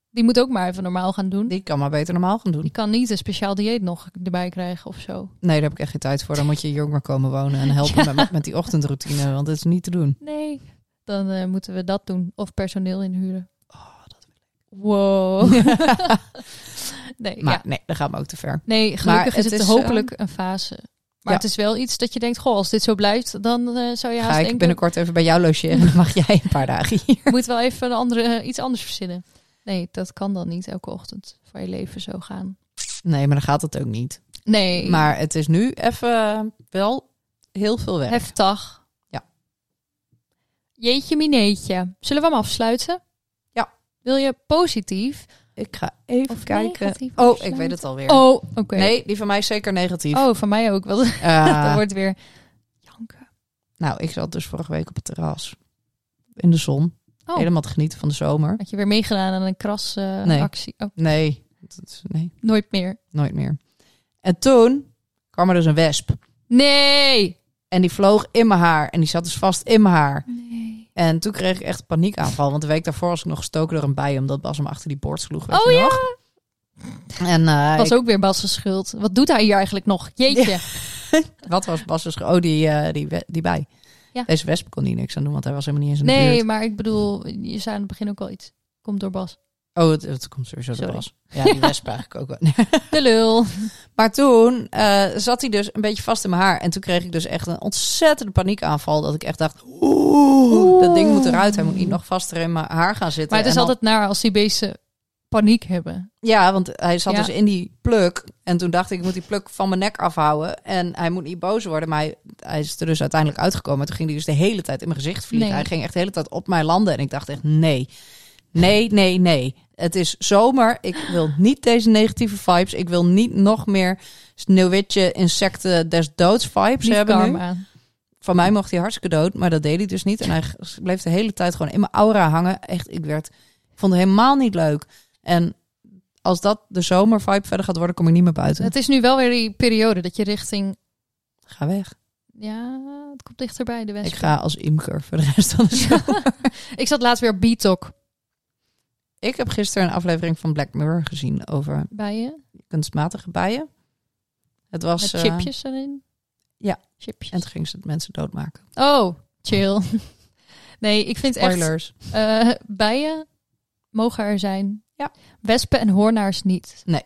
Speaker 2: Die moet ook maar even normaal gaan doen.
Speaker 1: Die kan maar beter normaal gaan doen.
Speaker 2: Die kan niet een speciaal dieet nog erbij krijgen of zo.
Speaker 1: Nee, daar heb ik echt geen tijd voor. Dan moet je jonger komen wonen en helpen met, met die ochtendroutine. Want dat is niet te doen.
Speaker 2: Nee. Dan eh, moeten we dat doen. Of personeel inhuren. Oh, Wow. nee,
Speaker 1: Maar
Speaker 2: ja.
Speaker 1: nee, dat gaat me ook te ver.
Speaker 2: nee,
Speaker 1: Maar
Speaker 2: gelukkig
Speaker 1: het
Speaker 2: is het
Speaker 1: is, ehm,
Speaker 2: hopelijk een fase.
Speaker 1: ja.
Speaker 2: Maar het is wel iets dat je denkt, goh, als dit zo blijft, dan eh, zou je haast
Speaker 1: Ga ik
Speaker 2: denken,
Speaker 1: binnenkort even bij jou logeren. Dan mag jij een paar dagen hier.
Speaker 2: moet wel even een andere, eh, iets anders verzinnen. Nee, dat kan dan niet elke ochtend van je leven zo gaan.
Speaker 1: Nee, maar dan gaat het ook niet.
Speaker 2: Nee,
Speaker 1: Maar het is nu even wel heel veel werk.
Speaker 2: heftig.
Speaker 1: eh, Ja.
Speaker 2: Jeetje mineetje. Zullen we hem afsluiten?
Speaker 1: Ja.
Speaker 2: Wil je positief?
Speaker 1: Ik ga even
Speaker 2: Of
Speaker 1: kijken.
Speaker 2: negatief
Speaker 1: oh, ik
Speaker 2: afsluiten?
Speaker 1: weet het alweer.
Speaker 2: Oh, oké.
Speaker 1: Nee, die van mij is zeker negatief.
Speaker 2: Oh, van mij ook. Want
Speaker 1: Eh,
Speaker 2: dat wordt weer janken.
Speaker 1: Nou, ik zat dus vorige week op het terras. In de zon.
Speaker 2: Oh.
Speaker 1: Helemaal te genieten van de zomer.
Speaker 2: Had je weer meegedaan aan een krasactie?
Speaker 1: Nee.
Speaker 2: actie? Oh,
Speaker 1: Nee, dat is- nee,
Speaker 2: nooit meer.
Speaker 1: nooit meer. En toen kwam er dus een wesp.
Speaker 2: Nee!
Speaker 1: En die vloog in mijn haar. En die zat dus vast in mijn haar.
Speaker 2: Nee.
Speaker 1: En toen kreeg ik echt een paniekaanval. Want de week daarvoor was ik nog gestoken door een bij. Omdat Bas hem achter die boord sloeg. weet
Speaker 2: Oh
Speaker 1: je
Speaker 2: ja,
Speaker 1: nog? En, eh,
Speaker 2: was ook weer Bas' schuld. Wat doet hij hier eigenlijk nog? Jeetje.
Speaker 1: ik- wat was Bas dus? ge- Oh, die, eh, die, we- die bij.
Speaker 2: Ja.
Speaker 1: Deze wesp kon hier niks aan doen. Want hij was helemaal niet eens in de
Speaker 2: Nee,
Speaker 1: buurt.
Speaker 2: maar ik bedoel, je zei aan het begin ook al iets. Komt door Bas.
Speaker 1: Oh, het, het komt sowieso door
Speaker 2: Sorry.
Speaker 1: Bas. Ja, die wesp eigenlijk ook wel.
Speaker 2: De lul.
Speaker 1: Maar toen eh, zat hij dus een beetje vast in mijn haar. En toen kreeg ik dus echt een ontzettende paniekaanval. Dat ik echt dacht, oeh, dat ding moet eruit. Hij moet niet nog vaster in mijn haar gaan zitten.
Speaker 2: Maar het is
Speaker 1: En dan-
Speaker 2: altijd naar als die beesten paniek hebben.
Speaker 1: Ja, want hij zat
Speaker 2: Ja.
Speaker 1: dus in die pluk. En toen dacht ik, ik moet die pluk van mijn nek afhouden. En hij moet niet boos worden. Maar hij, hij is er dus uiteindelijk uitgekomen. En toen ging hij dus de hele tijd in mijn gezicht vliegen.
Speaker 2: Nee.
Speaker 1: Hij ging echt de hele tijd op mij landen. En ik dacht echt, nee. Nee, nee, nee. Het is zomer. Ik wil niet deze negatieve vibes. Ik wil niet nog meer sneeuwwitje, insecten des doods vibes
Speaker 2: Niet
Speaker 1: hebben nu.
Speaker 2: karma.
Speaker 1: Van mij mocht hij hartstikke dood, maar dat deed hij dus niet. En hij g- bleef de hele tijd gewoon in mijn aura hangen. Echt, ik werd, ik vond het helemaal niet leuk. En als dat de zomervibe verder gaat worden, kom ik niet meer buiten.
Speaker 2: Het is nu wel weer die periode dat je richting...
Speaker 1: Ga weg.
Speaker 2: Ja, het komt dichterbij, de west.
Speaker 1: Ik ga als imker voor de rest van de zomer.
Speaker 2: ik zat laatst weer Bitok
Speaker 1: Ik heb gisteren een aflevering van Black Mirror gezien over
Speaker 2: bij je.
Speaker 1: kunstmatige bijen. Het
Speaker 2: Met
Speaker 1: was... eh,
Speaker 2: chipjes erin.
Speaker 1: ja.
Speaker 2: Chipjes.
Speaker 1: en toen gingen ze mensen doodmaken.
Speaker 2: Oh, chill. Nee, ik vind echt...
Speaker 1: Spoilers.
Speaker 2: Eh, bijen mogen er zijn.
Speaker 1: Ja.
Speaker 2: Wespen en hoornaars niet.
Speaker 1: Nee.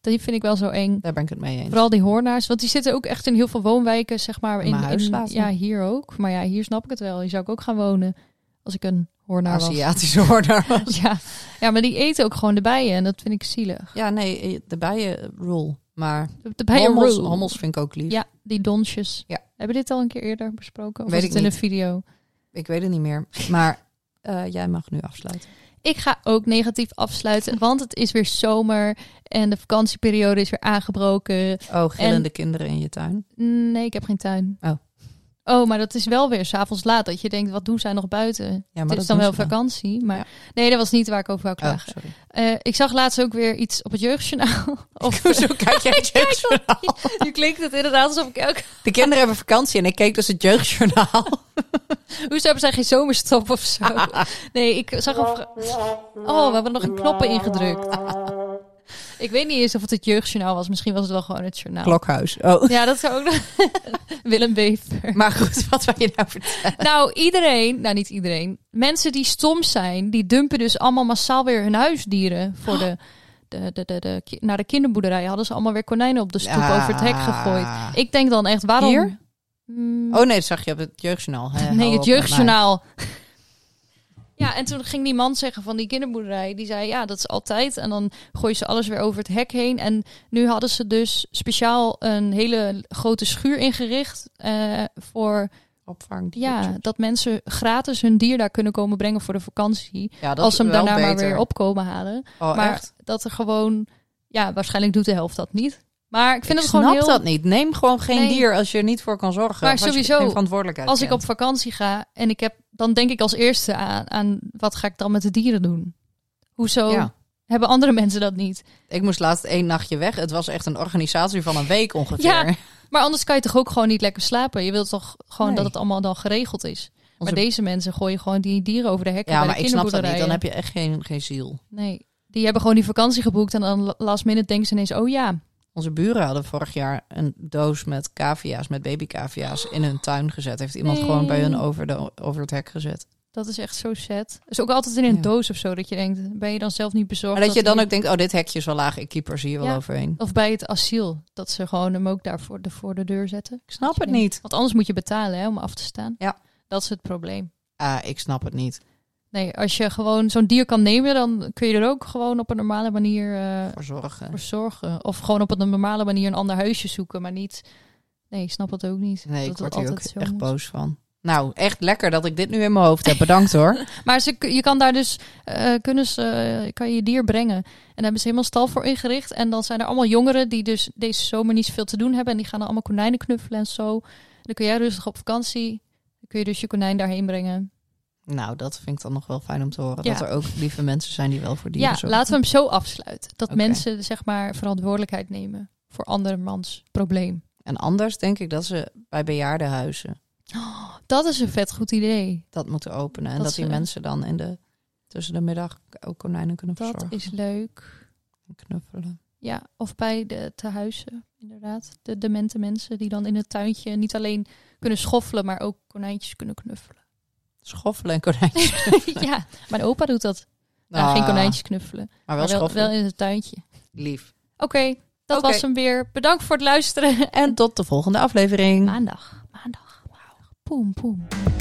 Speaker 2: Die vind ik wel zo eng.
Speaker 1: Daar ben ik het mee eens.
Speaker 2: Vooral die hoornaars, want die zitten ook echt in heel veel woonwijken, zeg maar. In,
Speaker 1: mijn huis
Speaker 2: in-
Speaker 1: laten.
Speaker 2: ja, hier ook. Maar ja, hier snap ik het wel. Hier zou ik ook gaan wonen als ik een hoornaar was.
Speaker 1: Aziatische hoornaar was.
Speaker 2: Ja. ja, maar die eten ook gewoon de bijen en dat vind ik zielig.
Speaker 1: Ja, nee, eh, de bijen rule. Maar
Speaker 2: De- De bijen
Speaker 1: hommels,
Speaker 2: rule.
Speaker 1: hommels vind ik ook lief.
Speaker 2: Ja, die donsjes.
Speaker 1: Ja.
Speaker 2: Hebben we dit al een keer eerder besproken? Of
Speaker 1: Weet
Speaker 2: was
Speaker 1: ik
Speaker 2: het in
Speaker 1: niet.
Speaker 2: een video?
Speaker 1: Ik weet het niet meer. Maar eh, jij mag nu afsluiten.
Speaker 2: Ik ga ook negatief afsluiten, want het is weer zomer en de vakantieperiode is weer aangebroken.
Speaker 1: Oh, gillende kinderen in je tuin.
Speaker 2: Nee, ik heb geen tuin.
Speaker 1: Oh.
Speaker 2: Oh, maar dat is wel weer s'avonds laat. Dat je denkt, wat doen zij nog buiten?
Speaker 1: Ja,
Speaker 2: het
Speaker 1: dat
Speaker 2: is dan
Speaker 1: doen
Speaker 2: wel
Speaker 1: ze
Speaker 2: vakantie. Maar
Speaker 1: Ja.
Speaker 2: nee, dat was niet waar ik over wou
Speaker 1: Oh,
Speaker 2: klagen.
Speaker 1: sorry.
Speaker 2: Eh, ik zag laatst ook weer iets op het jeugdjournaal. of,
Speaker 1: Hoezo kijk jij het jeugdjournaal?
Speaker 2: nu klinkt het inderdaad alsof ik elke...
Speaker 1: De kinderen hebben vakantie en ik keek dus het jeugdjournaal.
Speaker 2: Oh. Hoezo hebben zij geen zomerstop of zo? nee, ik zag een... vra- Oh, we hebben nog een knoppen ingedrukt. ik weet niet eens of het het jeugdjournaal was. Misschien was het wel gewoon het journaal.
Speaker 1: Klokhuis. Oh.
Speaker 2: Ja, dat zou ook nog... Willem Wever.
Speaker 1: Maar goed, wat wil je nou vertellen?
Speaker 2: Nou, iedereen, nou niet iedereen, mensen die stom zijn, die dumpen dus allemaal massaal weer hun huisdieren
Speaker 1: Oh.
Speaker 2: voor de, de, de, de, de, ki- naar de kinderboerderij. Hadden ze allemaal weer konijnen op de stoep
Speaker 1: Ja.
Speaker 2: over het hek gegooid. Ik denk dan echt, waarom?
Speaker 1: Hier?
Speaker 2: Mm,
Speaker 1: Oh nee, dat zag je op het jeugdjournaal. Hè, hou
Speaker 2: nee,
Speaker 1: op met
Speaker 2: het jeugdjournaal. Ja, en toen ging die man zeggen van die kinderboerderij, die zei ja, dat is altijd. En dan gooien ze alles weer over het hek heen. En nu hadden ze dus speciaal een hele grote schuur ingericht eh, voor
Speaker 1: mij. Opvang.
Speaker 2: ja, dat mensen gratis hun dier daar kunnen komen brengen voor de vakantie.
Speaker 1: ja dat
Speaker 2: als ze hem
Speaker 1: is wel
Speaker 2: daarna maar
Speaker 1: beter.
Speaker 2: weer opkomen halen.
Speaker 1: Oh,
Speaker 2: maar
Speaker 1: echt?
Speaker 2: dat er gewoon, ja, waarschijnlijk doet de helft dat niet. Maar ik vind
Speaker 1: Ik
Speaker 2: het
Speaker 1: snap
Speaker 2: gewoon heel.
Speaker 1: dat niet. Neem gewoon geen
Speaker 2: Nee.
Speaker 1: dier als je er niet voor kan zorgen.
Speaker 2: Maar
Speaker 1: Of als je
Speaker 2: sowieso,
Speaker 1: geen verantwoordelijkheid
Speaker 2: Als ik op
Speaker 1: kent.
Speaker 2: vakantie ga en ik heb, dan denk ik als eerste aan, aan wat ga ik dan met de dieren doen? Hoezo
Speaker 1: Ja.
Speaker 2: hebben andere mensen dat niet?
Speaker 1: Ik moest laatst één nachtje weg. Het was echt een organisatie van een week ongeveer.
Speaker 2: Ja, Maar anders kan je toch ook gewoon niet lekker slapen. Je wilt toch gewoon
Speaker 1: Nee.
Speaker 2: dat het allemaal dan geregeld is.
Speaker 1: Onze-
Speaker 2: Maar deze mensen gooien gewoon die dieren over de hekken.
Speaker 1: ja
Speaker 2: bij
Speaker 1: maar
Speaker 2: de
Speaker 1: ik snap dat niet. Dan
Speaker 2: kinderboerderijen.
Speaker 1: heb je echt geen, geen ziel.
Speaker 2: Nee, die hebben gewoon die vakantie geboekt en dan last minute denken ze ineens, oh ja,
Speaker 1: Onze buren hadden vorig jaar een doos met cavia's, met babycavia's, in hun tuin gezet. Heeft iemand
Speaker 2: Nee.
Speaker 1: gewoon bij hun over, de, over het hek gezet.
Speaker 2: Dat is echt zo sad. Is ook altijd in een
Speaker 1: Ja.
Speaker 2: doos of zo dat je denkt, ben je dan zelf niet bezorgd?
Speaker 1: Maar dat je dan
Speaker 2: die-
Speaker 1: ook denkt, oh, dit hekje is wel laag, ik keep er zie je wel
Speaker 2: Ja.
Speaker 1: overheen.
Speaker 2: Of bij het asiel, dat ze gewoon hem ook daar voor de, voor de deur zetten.
Speaker 1: Ik snap
Speaker 2: Dat
Speaker 1: het
Speaker 2: je denkt-
Speaker 1: niet.
Speaker 2: Want anders moet je betalen hè, om af te staan.
Speaker 1: Ja.
Speaker 2: Dat is het probleem.
Speaker 1: Ah, ik snap het niet.
Speaker 2: Nee, als je gewoon zo'n dier kan nemen, dan kun je er ook gewoon op een normale manier eh,
Speaker 1: Voor zorgen.
Speaker 2: voor zorgen. Of gewoon op een normale manier een ander huisje zoeken, maar niet... Nee, ik snap dat ook niet.
Speaker 1: Nee,
Speaker 2: dat
Speaker 1: ik
Speaker 2: het
Speaker 1: word hier ook
Speaker 2: altijd zo
Speaker 1: echt
Speaker 2: moet.
Speaker 1: boos van. Nou, echt lekker dat ik dit nu in mijn hoofd heb. Bedankt hoor.
Speaker 2: Maar ze, je kan daar dus, eh, kunnen ze, eh, kan je je dier brengen. En daar hebben ze helemaal stal voor ingericht. En dan zijn er allemaal jongeren die dus deze zomer niet zoveel te doen hebben. En die gaan dan allemaal konijnen knuffelen en zo. En dan kun jij rustig op vakantie. Dan kun je dus je konijn daarheen brengen.
Speaker 1: Nou, dat vind ik dan nog wel fijn om te horen.
Speaker 2: Ja.
Speaker 1: Dat er ook lieve mensen zijn die wel voor dieren
Speaker 2: ja,
Speaker 1: zorgen.
Speaker 2: laten we hem zo afsluiten. Dat
Speaker 1: Oké.
Speaker 2: mensen zeg maar verantwoordelijkheid nemen voor andermans probleem.
Speaker 1: En anders denk ik dat ze bij bejaardenhuizen
Speaker 2: Dat is een vet goed idee.
Speaker 1: dat moeten openen. En dat,
Speaker 2: Dat
Speaker 1: die
Speaker 2: ze-
Speaker 1: mensen dan in de, tussen de middag ook konijnen kunnen
Speaker 2: Dat
Speaker 1: verzorgen.
Speaker 2: is leuk.
Speaker 1: en Knuffelen.
Speaker 2: Ja, of bij de tehuizen, inderdaad. De demente mensen die dan in het tuintje niet alleen kunnen schoffelen, maar ook konijntjes kunnen knuffelen.
Speaker 1: Schoffelen en konijntjes.
Speaker 2: ja, mijn opa doet dat. Nou, geen
Speaker 1: Ah,
Speaker 2: konijntjes knuffelen,
Speaker 1: Maar wel
Speaker 2: maar wel,
Speaker 1: schoffelen.
Speaker 2: wel in het tuintje.
Speaker 1: Lief.
Speaker 2: Oké, dat
Speaker 1: Oké.
Speaker 2: was hem weer. Bedankt voor het luisteren en
Speaker 1: En tot de volgende aflevering.
Speaker 2: maandag. Maandag. Poem, poem.